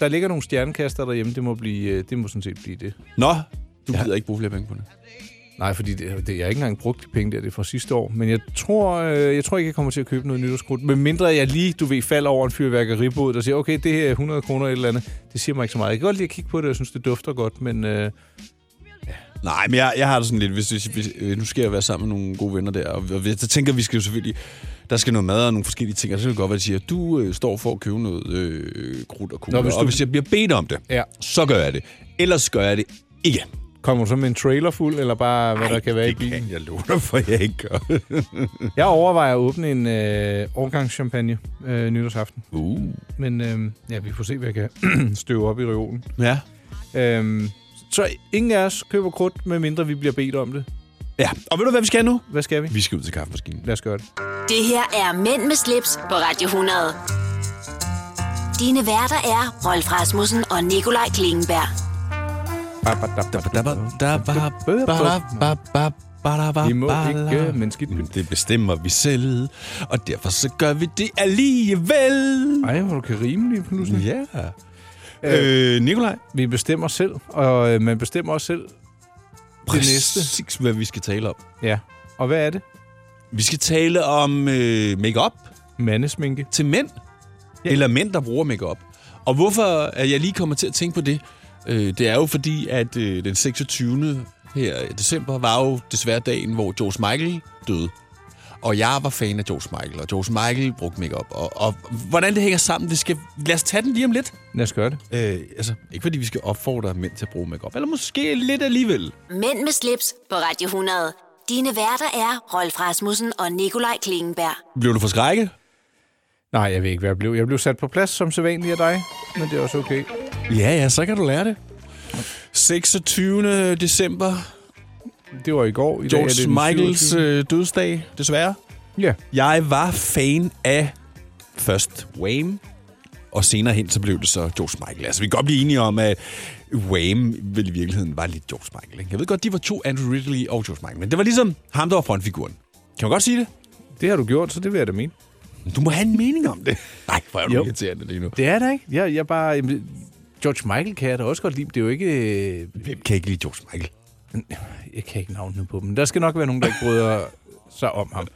der ligger nogle stjernekaster derhjemme. Det må, blive, øh, det må sådan set blive det.
Nå, du ja. gider ikke bruge flere penge på det.
Nej, fordi det, det, jeg har ikke engang brugt de penge der, det er fra sidste år. Men jeg tror, øh, jeg tror ikke, jeg kommer til at købe noget nytårskrudt. Men mindre jeg lige, du ved, falder over en fyrværkeribod, der siger, okay, det her er 100 kroner eller et eller andet. Det siger mig ikke så meget. Jeg kan godt lide at kigge på det, jeg synes, det dufter godt, men øh,
Nej, men jeg, jeg har det sådan lidt, hvis, hvis, hvis øh, nu skal jeg være sammen med nogle gode venner der, og, og vi- så tænker vi skal jo selvfølgelig, der skal noget mad og nogle forskellige ting, og så kan det godt være, at de siger, du øh, står for at købe noget øh, krudt og kugler,
Nå, hvis
og
du-
hvis jeg bliver bedt om det,
Ja.
så gør jeg det. Ellers gør jeg det ikke.
kommer du så med en trailer fuld, eller bare hvad der kan være i bilen?
jeg lover dig for, jeg ikke gør.
Jeg overvejer at åbne en øh, årgangschampagne øh, nytårsaften.
uh.
Men øh, ja, vi får se, hvad jeg kan <clears throat> støve op i reolen.
Ja.
Øh, så ingen af os køber krudt, medmindre vi bliver bedt om det.
ja, og ved du, hvad vi skal nu?
Hvad skal vi?
Vi skal ud til kaffemaskinen.
Lad os gøre det.
Det her er Mænd med slips på Radio 100. Dine værter er Rolf Rasmussen og Nikolaj Klingenberg.
Vi må ikke, men skidt pyt.
øh, Det bestemmer vi selv, og derfor så gør vi det alligevel.
Ej, hvor du kan rime lige pludselig.
Ja. Øh, Nikolaj,
Vi bestemmer selv, og øh, man bestemmer også selv. næste.
præcis hvad vi skal tale om.
Ja. Og hvad er det?
Vi skal tale om øh, makeup
Mandesminke.
til mænd. Ja. Eller mænd, der bruger makeup. Og hvorfor at jeg lige kommer til at tænke på det, øh, det er jo fordi, at øh, den 26. her i december var jo desværre dagen, hvor George Michael døde. Og jeg var fan af George Michael, og George Michael brugte makeup. Og, og hvordan det hænger sammen, det skal... Lad os tage den lige om lidt.
Lad os gøre det.
Øh, altså, ikke fordi vi skal opfordre mænd til at bruge makeup, eller måske lidt alligevel.
Mænd med slips på Radio 100. Dine værter er Rolf Rasmussen og Nikolaj Klingenberg.
Blev du forskrækket?
Nej, jeg ved ikke, hvad jeg blev. Jeg blev sat på plads som sædvanlig af dig, men det er også okay.
Ja, ja, så kan du lære det. 26. december,
Det var i går. I dag er det
George
den
Michaels
27..
øh, dødsdag, desværre.
Ja.
Jeg var fan af først Wham, og senere hen, så blev det så George Michael. Altså, vi kan godt blive enige om, at Wham vel i virkeligheden var lidt George Michael. Ikke? Jeg ved godt, de var to Andrew Ridley og George Michael, men det var ligesom ham, der var frontfiguren. Kan man godt sige det?
Det har du gjort, så det vil jeg da mene.
Du må have en mening om det. <laughs> Nej, hvor er du
Jo.
irriterende lige nu.
Det er det ikke. Jeg, jeg bare... jamen, George Michael kan jeg da også godt lide. men Det er jo ikke... øh,
Hvem kan ikke lide George Michael?
Jeg kan ikke navnene på dem. Der skal nok være nogen, der ikke bryder sig om ham.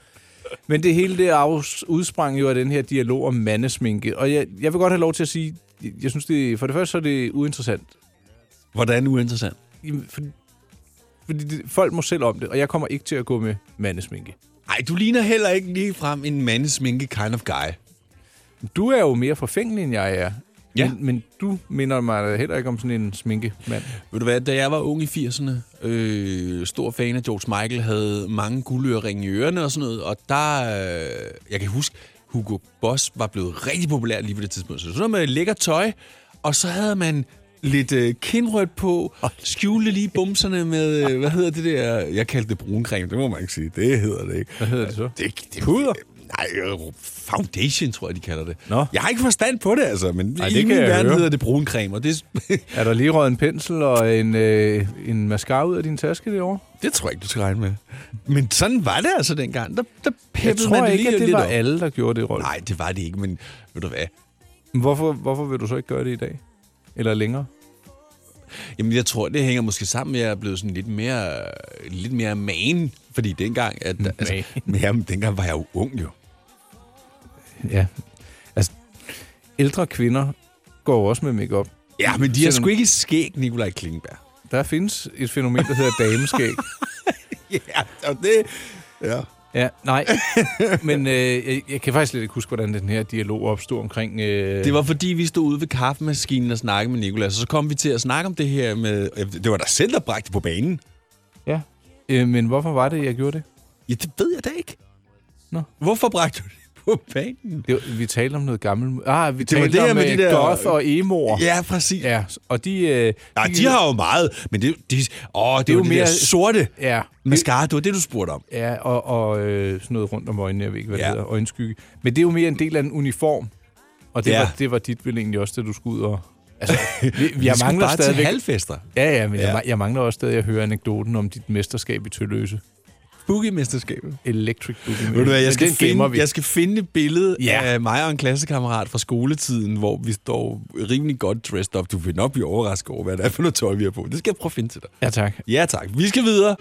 Men det hele det afs- udsprang jo af den her dialog om mandesminke. Og jeg, jeg vil godt have lov til at sige... Jeg jeg synes, det, for det første så er det uinteressant.
Hvordan uinteressant?
Jamen, For, fordi det, folk må selv om det, og jeg kommer ikke til at gå med mandesminke.
Ej, du ligner heller ikke lige frem en mandesminke kind of guy.
Du er jo mere forfængelig, end jeg er.
Ja.
Men, men du minder mig da heller ikke om sådan en sminkemand.
Ved du hvad, da jeg var ung i 80'erne, øh, stor fan af George Michael, havde mange guldøreringe i ørerne og sådan noget, og der, øh, jeg kan huske, Hugo Boss var blevet rigtig populær lige på det tidspunkt. Så sådan noget med lækker tøj, og så havde man lidt øh, kindrødt på, skjule lige bumserne med, øh, hvad hedder det der, jeg kaldte det bruncreme, det må man ikke sige, det hedder det ikke.
Hvad hedder det så?
Det, det, puder? Nej, øh, foundation, tror jeg, de kalder det. Nå. Jeg har ikke forstand på det, altså, men
Ej,
Ej,
det
det i
kan
min
jeg
verden
høre.
hedder det bruncreme, og det, <laughs>
Er der lige røget en pensel og en, øh, en mascara ud af din taske derovre?
det tror jeg ikke, du skal regne med. Men sådan var det altså dengang. Der, der
Jeg
peppede
tror
man
ikke,
lige
at det
lidt
var
op.
alle, der gjorde det, Rolf.
Nej, det var det ikke, men ved du hvad?
Hvorfor, hvorfor vil du så ikke gøre det i dag? Eller længere?
Jamen, jeg tror, det hænger måske sammen med, at jeg er blevet sådan lidt mere, lidt mere man. Fordi dengang, at, altså, jamen, dengang var jeg jo ung, jo.
Ja. Altså, ældre kvinder går jo også med makeup.
Ja, men de har sgu ikke skæg, Nikolaj
<laughs>
Klingenberg.
Der findes et fænomen, der hedder dameskæg.
ja, og det... Ja.
<laughs> Ja, nej. Men øh, jeg, jeg kan faktisk slet ikke huske, hvordan den her dialog opstod omkring... Øh,
Det var fordi, vi stod ude ved kaffemaskinen og snakkede med Nicolas, og så kom vi til at snakke om det her med... øh, Det var dig selv, der bragte det på banen.
Ja. Øh, men hvorfor var det, jeg gjorde det?
Ja, det ved jeg da ikke.
Nå.
Hvorfor bragte du det på banen?
det var, vi talte om noget gammelt... Ah, vi
Det var
talte
det her
om
med
øh,
de der-
goth og emoer.
Ja, præcis.
Ja, og de... Øh,
Nej, de har jo meget, men det, de, åh, det, det er jo mere sorte
Ja,
mascara, det var det, du spurgte om.
ja og, og øh, sådan noget rundt om øjnene, jeg ved ikke, hvad ja.
Ja.
det hedder, øjenskygge. Men det er jo mere en del af en uniform. Og det, ja.
Ja.
var, det var dit vel egentlig også, da du skulle ud og...
<laughs>
Altså, vi, vi,
Jeg
jeg
vi skulle
mangler
bare til
stadigvæk...
halvfester.
Ja, ja, men ja.
Ja.
Jeg, ma- jeg mangler også stadig at høre anekdoten om dit mesterskab i Tølløse.
Boogie-mesterskabet.
Electric Boogie.
Ved du hvad,
Men
jeg skal,
den gemmer
finde,
vi.
jeg skal finde et billede
Ja.
ja. af mig og en klassekammerat fra skoletiden, hvor vi står rimelig godt dressed up. Du vil nok blive overrasket over, hvad det er for noget tøj, vi har på. Det skal jeg prøve at finde til dig.
Ja, tak.
Ja tak, vi skal videre.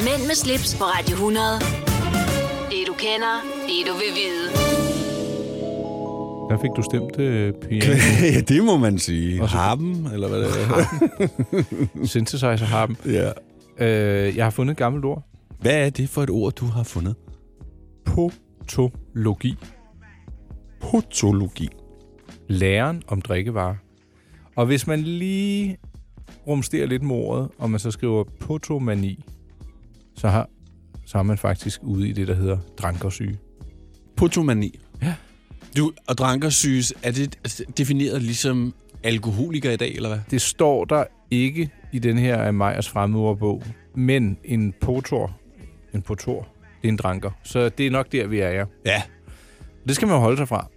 Mænd med slips på Radio 100. Det du kender, det du vil vide.
Der fik du stemt øh,
<laughs>
piano,
ja, det må man sige. Harpen, eller hvad det er.
synthesizer harpen.
ja.
Øh, jeg har fundet et gammelt ord.
Hvad er det for et ord, du har fundet?
Potologi.
Potologi.
Læren om drikkevarer. Og hvis man lige rumsterer lidt med ordet, og man så skriver potomani, så har, så er man faktisk ude i det, der hedder drankersyge.
Potomani. Ja. Du, og drankersyges, er det altså, defineret ligesom alkoholiker i dag, eller hvad?
Det står der ikke i den her af Majers fremmedordbog, men en potor, en potor, det er en dranker. Så det er nok der, vi er, ja.
Ja.
Det skal man jo holde sig fra.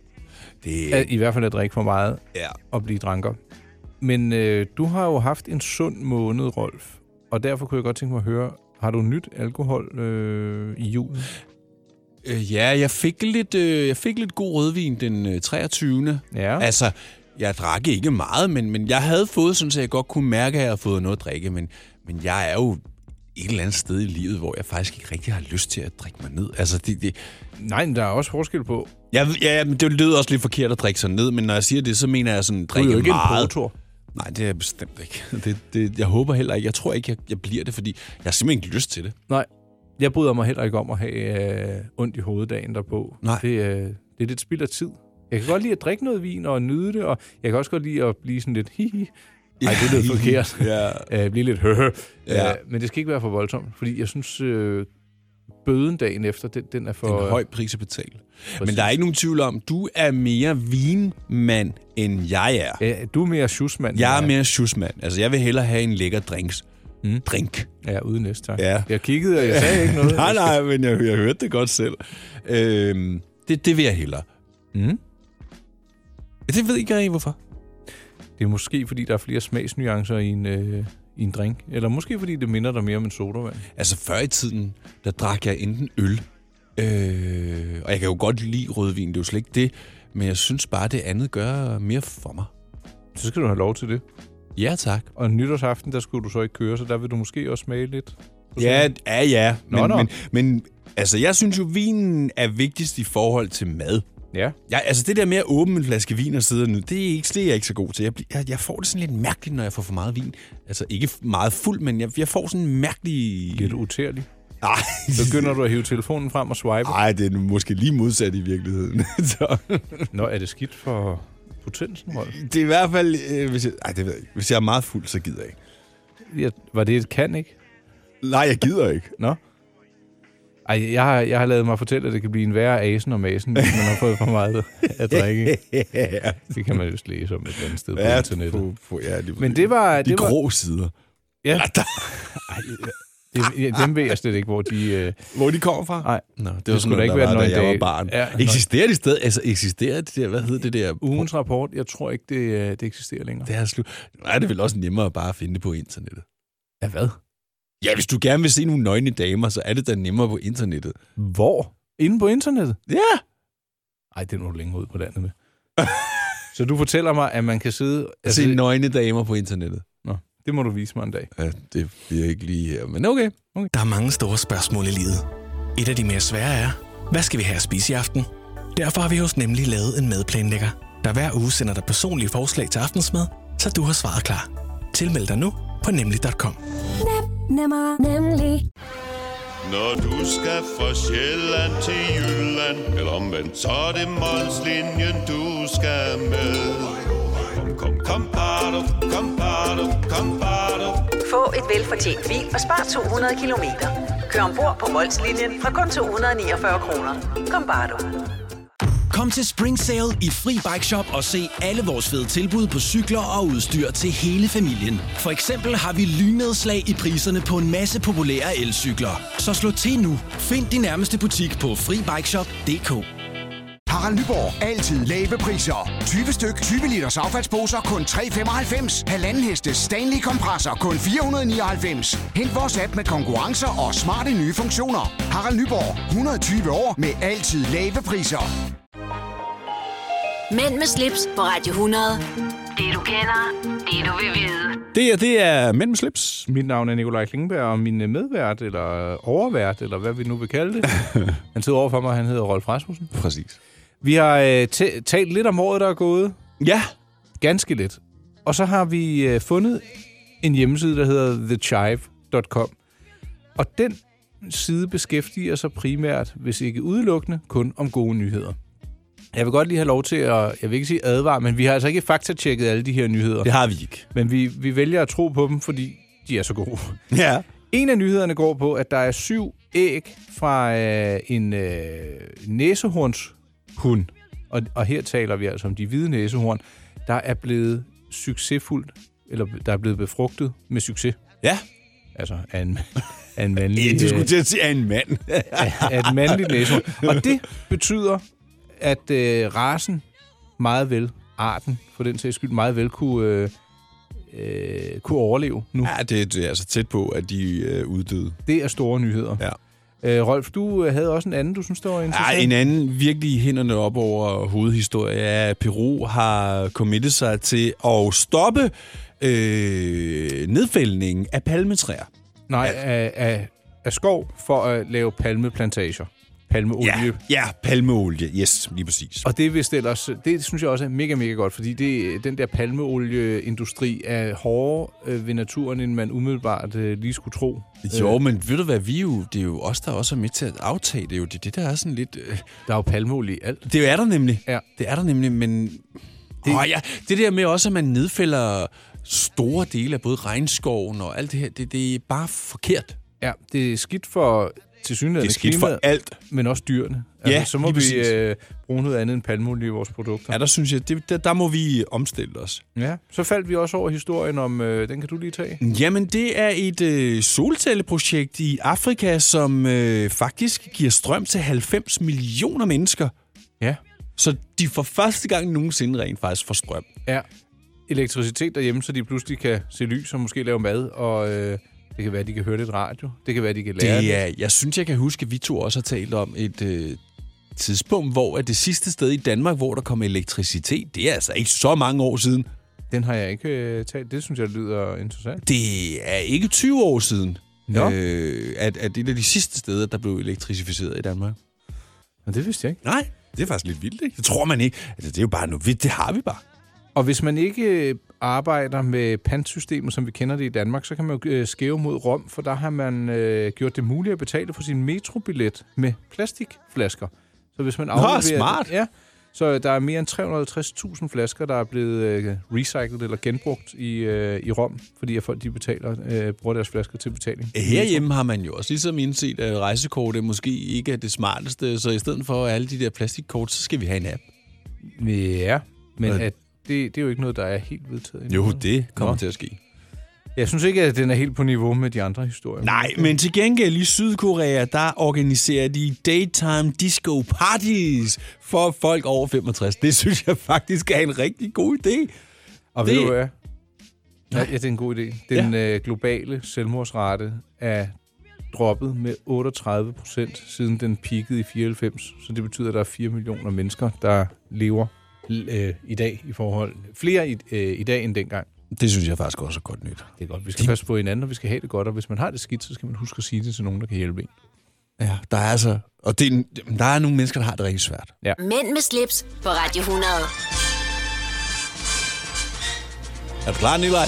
Det
At, I hvert fald at drikke for meget
Øh, Ja.
og blive dranker. Men øh, du har jo haft en sund måned, Rolf. Og derfor kunne jeg godt tænke mig at høre, har du nyt alkohol øh, i julen?
Øh, ja, jeg fik, lidt, øh, jeg fik lidt god rødvin den øh, 23.
Ja.
Altså, jeg drak ikke meget, men, men jeg havde fået sådan, at jeg godt kunne mærke, at jeg havde fået noget at drikke. Men, men jeg er jo et eller andet sted i livet, hvor jeg faktisk ikke rigtig har lyst til at drikke mig ned. Altså, det, det,
Nej, men der er også forskel på.
jeg, ja, men det lyder også lidt forkert at drikke sig ned, men når jeg siger det, så mener jeg sådan, drikke
jo ikke en
meget.
potor.
Nej, det er jeg bestemt ikke. <laughs> Det, det, jeg håber heller ikke. Jeg tror ikke, jeg, jeg bliver det, fordi jeg har simpelthen ikke lyst til det.
Nej, jeg bryder mig heller ikke om at have øh, ondt i hoveddagen derpå.
Nej.
Det, øh, det er lidt spild af tid. Jeg kan godt lide at drikke noget vin og nyde det, og jeg kan også godt lide at blive sådan lidt hihi. Nej, det lyder forkert.
<laughs> ja.
øh, blive lidt høhø. Ja.
Ja.
Øh, men det skal ikke være for voldsomt, fordi jeg synes, øh, bøden dagen efter, den, den er for...
en høj pris at betale. Præcis.
Præcis.
Men der er ikke nogen tvivl om, du er mere vinmand, end jeg er.
Ja, du er mere sjusmand.
Jeg er mere sjusmand. Altså, jeg vil hellere have en lækker drinks.
Mm.
Mm. Drink. <laughs>
Ja, uden næste, tak.
Ja.
Jeg kiggede, og jeg sagde ikke <laughs> noget.
nej, nej, men jeg, jeg hørte det godt selv. Øhm, det, det vil jeg hellere.
Mm.
Det ved ikke jeg hvorfor.
Det er måske, fordi der er flere smagsnuancer i en, øh, i en drink. Eller måske, fordi det minder dig mere om en sodavand.
Altså, før i tiden, der drak jeg enten øl, øh, og jeg kan jo godt lide rødvin, det er jo slet ikke det, men jeg synes bare, det andet gør mere for mig.
Så skal du have lov til det.
Ja, tak.
Og nytårsaften, der skulle du så ikke køre, så der vil du måske også smage lidt.
Ja, ja, ja.
Nå,
Men,
nå.
Men, men altså, jeg synes jo, vinen er vigtigst i forhold til mad.
Ja.
Ja, altså det der med at åbne en flaske vin og sidde og nyde, det er, ikke, det er jeg ikke så god til. Jeg, bliver- jeg, jeg får det sådan lidt mærkeligt, når jeg får for meget vin. Altså ikke f- meget fuld, men jeg, jeg får sådan en mærkelig...
Lidt utærlig.
Nej,
Så
<laughs>
begynder du at hive telefonen frem og swipe.
Ej, det er måske lige modsat i virkeligheden. <laughs> så,
Ah, Nå, er det skidt for potensen, Rolf?
det er i hvert fald... Øh, hvis jeg, ej, det ved jeg ikke. Hvis jeg er meget fuld, så gider jeg ikke.
Ja, var det et kan, ikke?
Nej, jeg
<laughs>
gider ikke.
Nå? Ej, jeg har, jeg har lavet mig fortælle, at det kan blive en værre asen og masen, hvis man har fået for meget at <laughs> drikke.
ja,
Det kan man jo læse om et eller andet sted på
ja,
internettet.
på, på, ja, lige
Men det var...
De
det var,
grå sider.
Ja.
Ej, der,
Ej, Det, ja, dem ved jeg slet ikke, hvor de... Øh...
Hvor de kommer fra?
Nej.
Nå, det,
Det
var
skulle
sådan
da ikke
noget, ikke
være
der var,
noget
da jeg var
dag.
barn.
Ja,
Ja,
nej.
eksisterer det sted? Altså, eksisterer det der, hvad hedder det der?
Ugens rapport, jeg tror ikke, det, øh, det eksisterer længere.
Det er slut. Nu er det vel også nemmere bare at finde det på internettet. Ja, hvad? Ja, hvis du gerne vil se nogle nøgne damer, så er det da nemmere på internettet.
Hvor? Inde på internettet?
Ja!
Ej, det er du længe ud på landet med. Så du fortæller mig, at man kan sidde... Altså,
At se nøgne damer på internettet.
Nå, det må du vise mig en dag.
Ja, det bliver ikke lige her, men okay.
Der er mange store spørgsmål i livet. Et af de mere svære er, hvad skal vi have at spise i aften? Derfor har vi hos Nemlig lavet en madplanlægger, der hver uge sender dig personlige forslag til aftensmad, så du har svaret klar. Tilmeld dig nu på nemlig.com.
Nemmer, nemlig.
Når du skal fra Sjælland til Jylland Eller omvendt, så er det Molslinjen, du skal med Kom, kom, kom, bado, kom, bado, kom, bado.
Få et velfortjent bil og spar 200 kilometer. Kør ombord på Molslinjen fra kun 249 kroner. Kom bare du.
Kom til Spring Sale i Fri Bike Shop og se alle vores fede tilbud på cykler og udstyr til hele familien. For eksempel har vi lynedslag i priserne på en masse populære elcykler. Så slå til nu. Find din nærmeste butik på FriBikeShop.dk
Harald Nyborg. Altid lave priser. 20 styk, 20 liters affaldsposer kun 3,95. Halvanden heste Stanley kompresser kun 499. Hent vores app med konkurrencer og smarte nye funktioner. Harald Nyborg. 120 år med altid lave priser.
Mænd med slips på Radio 100. Det du kender, det du vil vide.
Det, er, det er Mænd med slips.
Mit navn er Nikolaj Klingberg, og min øh, medvært, eller øh, overvært, eller hvad vi nu vil kalde
<laughs>
det, han sidder overfor mig, og han hedder Rolf Rasmussen.
Præcis.
Vi har øh, tæ- talt lidt om året, der er gået.
Ja.
Ganske lidt. Og så har vi øh, fundet en hjemmeside, der hedder thechive.com. Og den side beskæftiger sig primært, hvis ikke udelukkende, kun om gode nyheder. Jeg vil godt lige have lov til at, jeg vil ikke sige advare, men vi har altså ikke faktatjekket alle de her nyheder.
Det har vi ikke.
Men vi, vi vælger at tro på dem, fordi de er så gode.
Ja.
En af nyhederne går på, at der er syv æg fra øh, en øh, næsehornshund. Og, og her taler vi altså om de hvide næsehorn, der er blevet succesfuldt, eller der er blevet befrugtet med succes.
Ja.
Altså af en, af en mandlig...
Ja, du skulle
øh,
til at sige, af en mand.
af, af et mandligt næsehorn. Og det betyder, at øh, rasen meget vel, arten for den sags skyld, meget vel kunne, øh, øh, kunne overleve nu.
Ja, det, det er altså tæt på, at de øh, uddøde.
Det er store nyheder.
Ja.
Øh, Rolf, du øh, havde også en anden, du synes, der var
Ej,
interessant.
en anden virkelig hænderne op over hovedhistorie er, at Peru har committet sig til at stoppe øh, nedfældningen af palmetræer.
Nej, af, af, af skov for at lave palmeplantager. Palmeolie.
Ja, ja, palmeolie. Yes, lige præcis.
Og det er vist ellers, det synes jeg også er mega, mega godt, fordi det, den der palmeolieindustri er hårdere øh, ved naturen, end man umiddelbart øh, lige skulle tro.
Jo,
Øh,
men ved du hvad, vi er jo, det er jo os, der også er med til at aftage det. Er jo det, er det der er sådan lidt... Øh...
Der er jo palmeolie i alt.
Det er der nemlig.
Ja.
Det er der nemlig, men... Det... Oh, ja. det der med også, at man nedfælder store dele af både regnskoven og alt det her, det, det er bare forkert.
Ja, det er skidt for til synligheden
Det er skidt for alt.
Men også dyrene.
Ja,
så må
lige
vi
præcis.
øh, bruge noget andet end palmeolie i vores produkter.
Ja, der synes jeg, det, der, der må vi omstille os.
Ja, så faldt vi også over historien om, øh, den kan du lige tage.
Jamen, det er et øh, solcelleprojekt i Afrika, som øh, faktisk giver strøm til 90 millioner mennesker.
Ja.
Så de for første gang nogensinde rent faktisk får strøm.
Ja, elektricitet derhjemme, så de pludselig kan se lys og måske lave mad, og øh, det kan være, de kan høre lidt radio, det kan være, de kan lære
Det er, jeg synes, jeg kan huske, at vi to også har talt om et øh, tidspunkt, hvor at det sidste sted i Danmark, hvor der kom elektricitet, det er altså ikke så mange år siden.
Den har jeg ikke øh, talt. Det synes jeg lyder interessant.
Det er ikke 20 år siden,
Nå.
øh, at, at det er de sidste steder, der blev elektrificeret i Danmark.
Men det vidste jeg ikke.
Nej, det er faktisk lidt vildt, ikke? Det tror man ikke. Altså, det er jo bare noget vildt. Det har vi bare.
Og hvis man ikke øh, arbejder med pantsystemet, som vi kender det i Danmark, så kan man jo øh, skæve mod Rom, for der har man øh, gjort det muligt at betale for sin metrobillet med plastikflasker. Så hvis man
Nå,
afleverer...
smart.
Ja, så øh, der er mere end 350.000 flasker, der er blevet øh, recyclet eller genbrugt i, øh, i Rom, fordi at folk de betaler, øh, bruger deres flasker til betaling.
Herhjemme har man jo også ligesom indset, at rejsekortet måske ikke er det smarteste, så i stedet for alle de der plastikkort, så skal vi have en app.
Ja, men
Og-
at det, det er jo ikke noget, der er helt vedtaget. endnu.
Jo, det kommer
Nå.
til at ske.
Jeg synes ikke, at den er helt på niveau med de andre historier.
Nej, men til gengæld i Sydkorea, der organiserer de daytime disco parties for folk over 65. Det synes jeg faktisk er en rigtig god idé.
Og ved du hvad? Ja, ja, det er en god idé. Den ja. øh, globale selvmordsrate er droppet med 38 procent, siden den peakede i 94. Så det betyder, at der er 4 millioner mennesker, der lever øh, i dag i forhold... Flere i, øh, i dag end dengang.
Det synes jeg faktisk også er godt nyt.
Det er godt. Vi skal passe på hinanden, og vi skal have det godt. Og hvis man har det skidt, så skal man huske at sige det til nogen, der kan hjælpe en.
Ja, der er altså... Og det er, en- der er nogle mennesker, der har det rigtig svært.
Ja.
Mænd med slips på Radio 100.
Er du klar, <laughs> Nikolaj?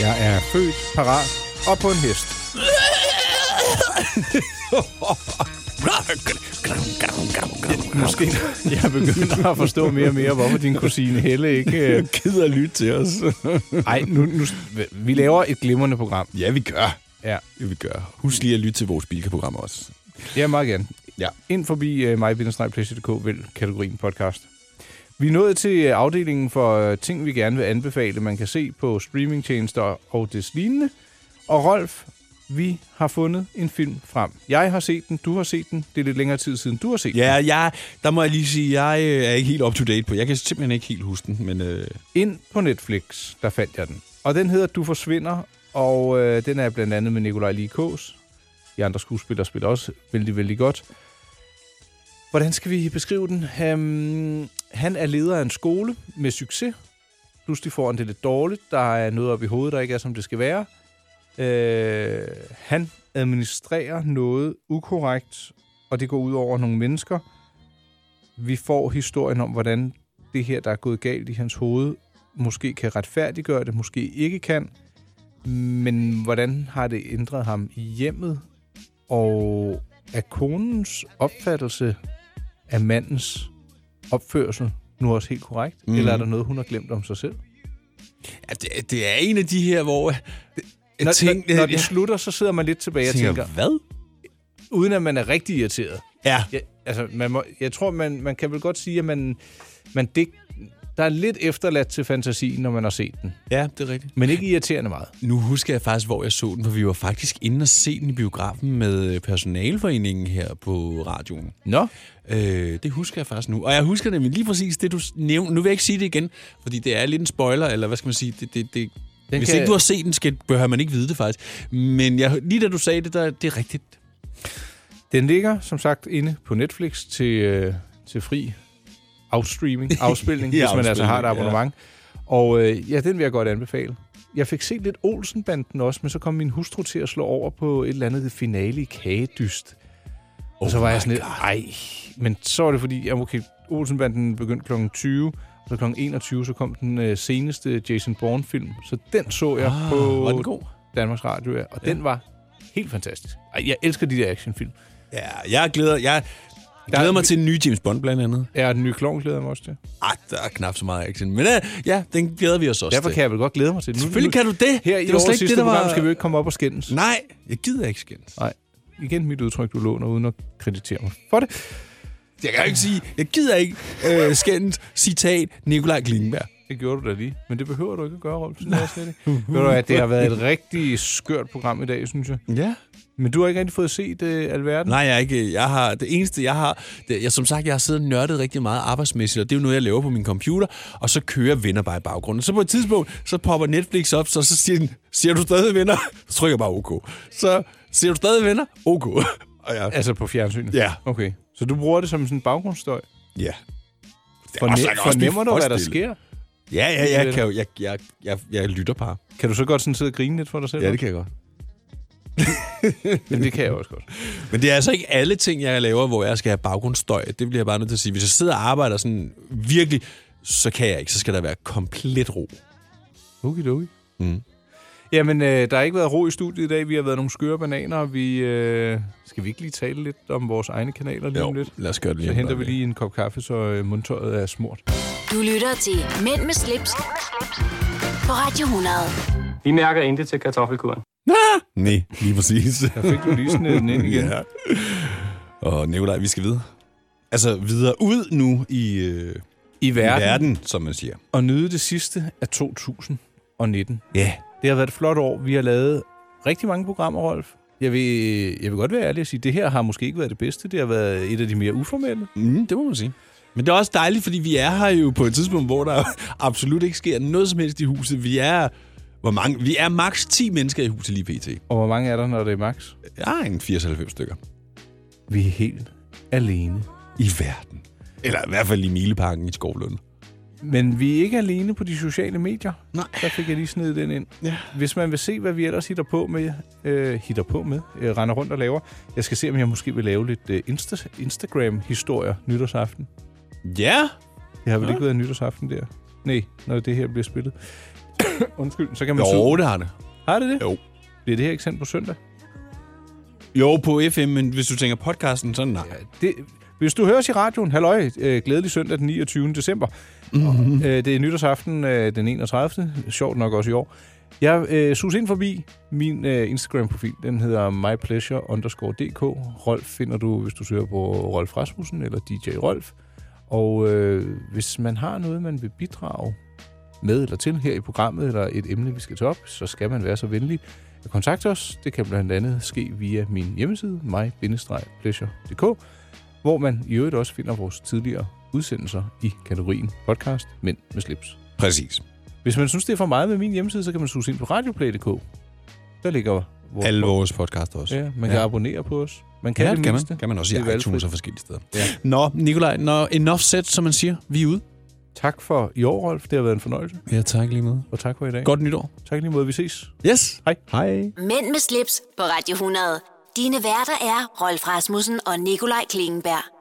Jeg er født, parat og på en hest. Måske <laughs> jeg begynder at forstå mere og mere, hvorfor din kusine Helle ikke øh,
gider at lytte til os.
Nej, nu, nu, vi laver et glimrende program.
Ja, vi gør.
Ja.
Ja, vi gør. Husk lige at lytte til vores bilkaprogram også.
Ja, meget gerne.
Ja.
Ind forbi uh, mig vælg kategorien podcast. Vi er nået til øh, afdelingen for øh, ting, vi gerne vil anbefale, man kan se på streamingtjenester og des lignende. Og Rolf, vi har fundet en film frem. Jeg har set den, du har set den. Det er lidt længere tid siden, du har set den.
Ja, jeg, der må jeg lige sige, jeg øh, er ikke helt up to date på. Jeg kan simpelthen ikke helt huske den, men... Øh,
Ind på Netflix, der fandt jeg den. Og den hedder Du forsvinder, og øh, den er blandt andet med Nikolaj Likås. De andre skuespillere spiller også vældig, vældig godt. Hvordan skal vi beskrive den? Um, han er leder af en skole med succes. Pludselig får han det lidt dårligt. Der er noget op i hovedet, der ikke er, som det skal være. Øh, han administrerer noget ukorrekt, og det går ud over nogle mennesker. Vi får historien om, hvordan det her, der er gået galt i hans hoved, måske kan retfærdiggøre det, måske ikke kan. Men hvordan har det ændret ham i hjemmet? Og er konens opfattelse af mandens opførsel nu også helt korrekt? Mm.
Mhm.
Eller er der noget, hun har glemt om sig selv?
ja, det, det er en af de her, hvor... øh, Jeg
Når,
tænkte-
når, når den
øh, jeg-
slutter, så sidder man lidt tilbage og
Tænker,
tænker,
hvad?
Uden at man er rigtig irriteret.
Ja.
ja altså, man må, jeg tror, man, man kan vel godt sige, at man, man dig, der er lidt efterladt til fantasien, når man har set den.
Ja, det er rigtigt.
Men ikke irriterende meget.
Nu husker jeg faktisk, hvor jeg så den, for vi var faktisk inde og se den i biografen med øh, personalforeningen her på radioen.
Nå.
Øh, det husker jeg faktisk nu. Og jeg husker nemlig lige præcis det, du nævnte. Nu vil jeg ikke sige det igen, fordi det er lidt en spoiler, eller hvad skal man sige? Det, det, det.
Den
Hvis
kan-
ikke du har set den, skal, behøver man ikke vide det faktisk. Men jeg, lige da du sagde det, der, det er rigtigt.
Den ligger, som sagt, inde på Netflix til, øh, til fri afstreaming,
<laughs>
afspilning,
Ja,
ja, hvis man altså har et
afspilning,
abonnement. Ja. Og øh, ja, den vil jeg godt anbefale. Jeg fik set lidt Olsenbanden også, men så kom min hustru til at slå over på et eller andet finale i kagedyst. Og
Oh
så var jeg sådan lidt, ej. Men så var det fordi, ja, okay, Olsenbanden begyndte kl. 20, og så kl. 21, så kom den øh, seneste Jason Bourne-film. Så den så jeg
Ah,
på
var den god?
Danmarks Radio, ja. og ja. den var helt fantastisk. Ej, jeg elsker de der actionfilm.
Ja, jeg glæder, jeg glæder mig til en ny James Bond blandt andet.
Ja, den nye klovn glæder jeg mig også til.
Ah, der er knap så meget action. Men øh, ja, den glæder vi os også
Derfor
til.
kan jeg vel godt glæde mig til det. Nu-
Selvfølgelig
nu-
kan du det.
Her i
Det var
vores
slet ikke
sidste
det, der var-
program skal vi jo ikke komme op og skændes.
Nej, jeg gider ikke skændes.
Nej. Igen mit udtryk, du låner uden at kreditere mig for det.
Jeg kan jo ikke sige, jeg gider ikke øh, skændes, citat, Nikolaj Klingenberg.
Det gjorde du da lige, men det behøver du ikke at gøre, Rolf. Sådan er jeg slet ikke. <laughs> Ved du, at det har været et rigtig skørt program i dag, synes jeg.
Ja.
Men du har ikke rigtig fået set øh, alverden?
Nej, jeg er ikke. Jeg har, det eneste, jeg har... Det, jeg, som sagt, jeg har siddet og nørdet rigtig meget arbejdsmæssigt, og det er jo noget, jeg laver på min computer, og så kører venner bare i baggrunden. Så på et tidspunkt, så popper Netflix op, så, så siger den, ser du stadig venner? Så trykker jeg bare OK. Så ser du stadig venner? OK. Og jeg,
Altså på fjernsynet?
Ja.
Okay. Så du bruger det altså som sådan en baggrundsstøj?
ja. Det er
Forne-
også- jeg kan også
fornemmer
blive
du, hvad der
forstille.
sker?
Ja, ja, jeg, kan jo, jeg, jeg, jeg, jeg lytter bare.
Kan du så godt sådan sidde og grine lidt for dig selv?
Ja, det kan jeg
<laughs>
godt.
Jamen, det kan jeg også godt.
Men det er altså ikke alle ting, jeg laver, hvor jeg skal have baggrundsstøj. Det bliver jeg bare nødt til at sige. Hvis jeg sidder og arbejder sådan virkelig, så kan jeg ikke. Så skal der være komplet ro.
Okidoki.
Mm.
Jamen, øh, der har ikke været ro i studiet i dag. Vi har været nogle skøre bananer. og Vi, øh, skal vi ikke lige tale lidt om vores egne kanaler lige om lidt?
lad os gøre det lige
Så
om
henter
et
vi lige en kop kaffe, så øh, mundtøjet er smurt.
Du lytter til Mænd med slips på Radio 100.
Vi mærker intet til kartoffelkuren.
Nej, lige <laughs> præcis.
Der fik du lige sådan den ind igen.
<laughs> ja. Og Nikolaj, vi skal videre. Altså videre ud nu i, øh,
I verden.
verden, som man siger.
Og nyde det sidste af 2019.
Ja,
Det har været et flot år. Vi har lavet rigtig mange programmer, Rolf. Jeg vil, jeg vil godt være ærlig og sige, at det her har måske ikke været det bedste. Det har været et af de mere uformelle.
Mm, det må man sige. Men det er også dejligt, fordi vi er her jo på et tidspunkt, hvor der <laughs> absolut ikke sker noget som helst i huset. Vi er, hvor mange, vi er maks 10 mennesker i huset lige pt.
Og hvor mange er der, når det er max?
Ja, en 94 stykker.
Vi er helt alene.
I verden. Eller i hvert fald i Mileparken i Skovlund.
Men vi er ikke alene på de sociale medier. Nej. Der fik jeg lige snedet den ind. Ja. Hvis man vil se, hvad vi ellers hitter på med, øh, hitter på med øh, render rundt og laver. Jeg skal se, om jeg måske vil lave lidt øh, Insta- Instagram-historier nytårsaften.
Ja.
Det har vel ikke været nytårsaften der? Nej, når det her bliver spillet. <coughs> Undskyld, så kan man
Jo, det har det.
Har det det?
Jo.
Bliver det her ikke sendt på søndag?
Jo, på FM, men hvis du tænker podcasten, så nej.
Det, hvis du hører os i radioen, halløj, øh, glædelig søndag den 29. december. Mm-hmm. Øh, det er nytårsaften øh, den 31. Sjovt nok også i år. Jeg øh, sus ind forbi min øh, Instagram-profil. Den hedder mypleasure_dk. Rolf finder du, hvis du søger på Rolf Rasmussen eller DJ Rolf. Og øh, hvis man har noget, man vil bidrage med eller til her i programmet, eller et emne, vi skal tage op, så skal man være så venlig at kontakte os. Det kan blandt andet ske via min hjemmeside, my-pleasure.dk, hvor man i øvrigt også finder vores tidligere udsendelser i kategorien podcast Mænd med slips.
Præcis.
Hvis man synes, det er for meget med min hjemmeside, så kan man suge ind på radioplay.dk. Der ligger vores
Alle vores podcast også.
Ja, man kan ja. abonnere på os. Man kan
ja,
det,
kan
mindste.
man. Kan man også
Det er
i iTunes
valgfrit.
og forskellige steder.
Ja.
Nå, Nikolaj, når enough set, som man siger, vi er ude.
Tak for i år, Rolf. Det har været en fornøjelse.
Ja, tak lige med.
Og tak for i dag.
Godt nytår.
Tak lige måde. Vi ses.
Yes.
Hej.
Hej.
Mænd med slips på Radio 100. Dine værter er Rolf Rasmussen og Nikolaj Klingenberg.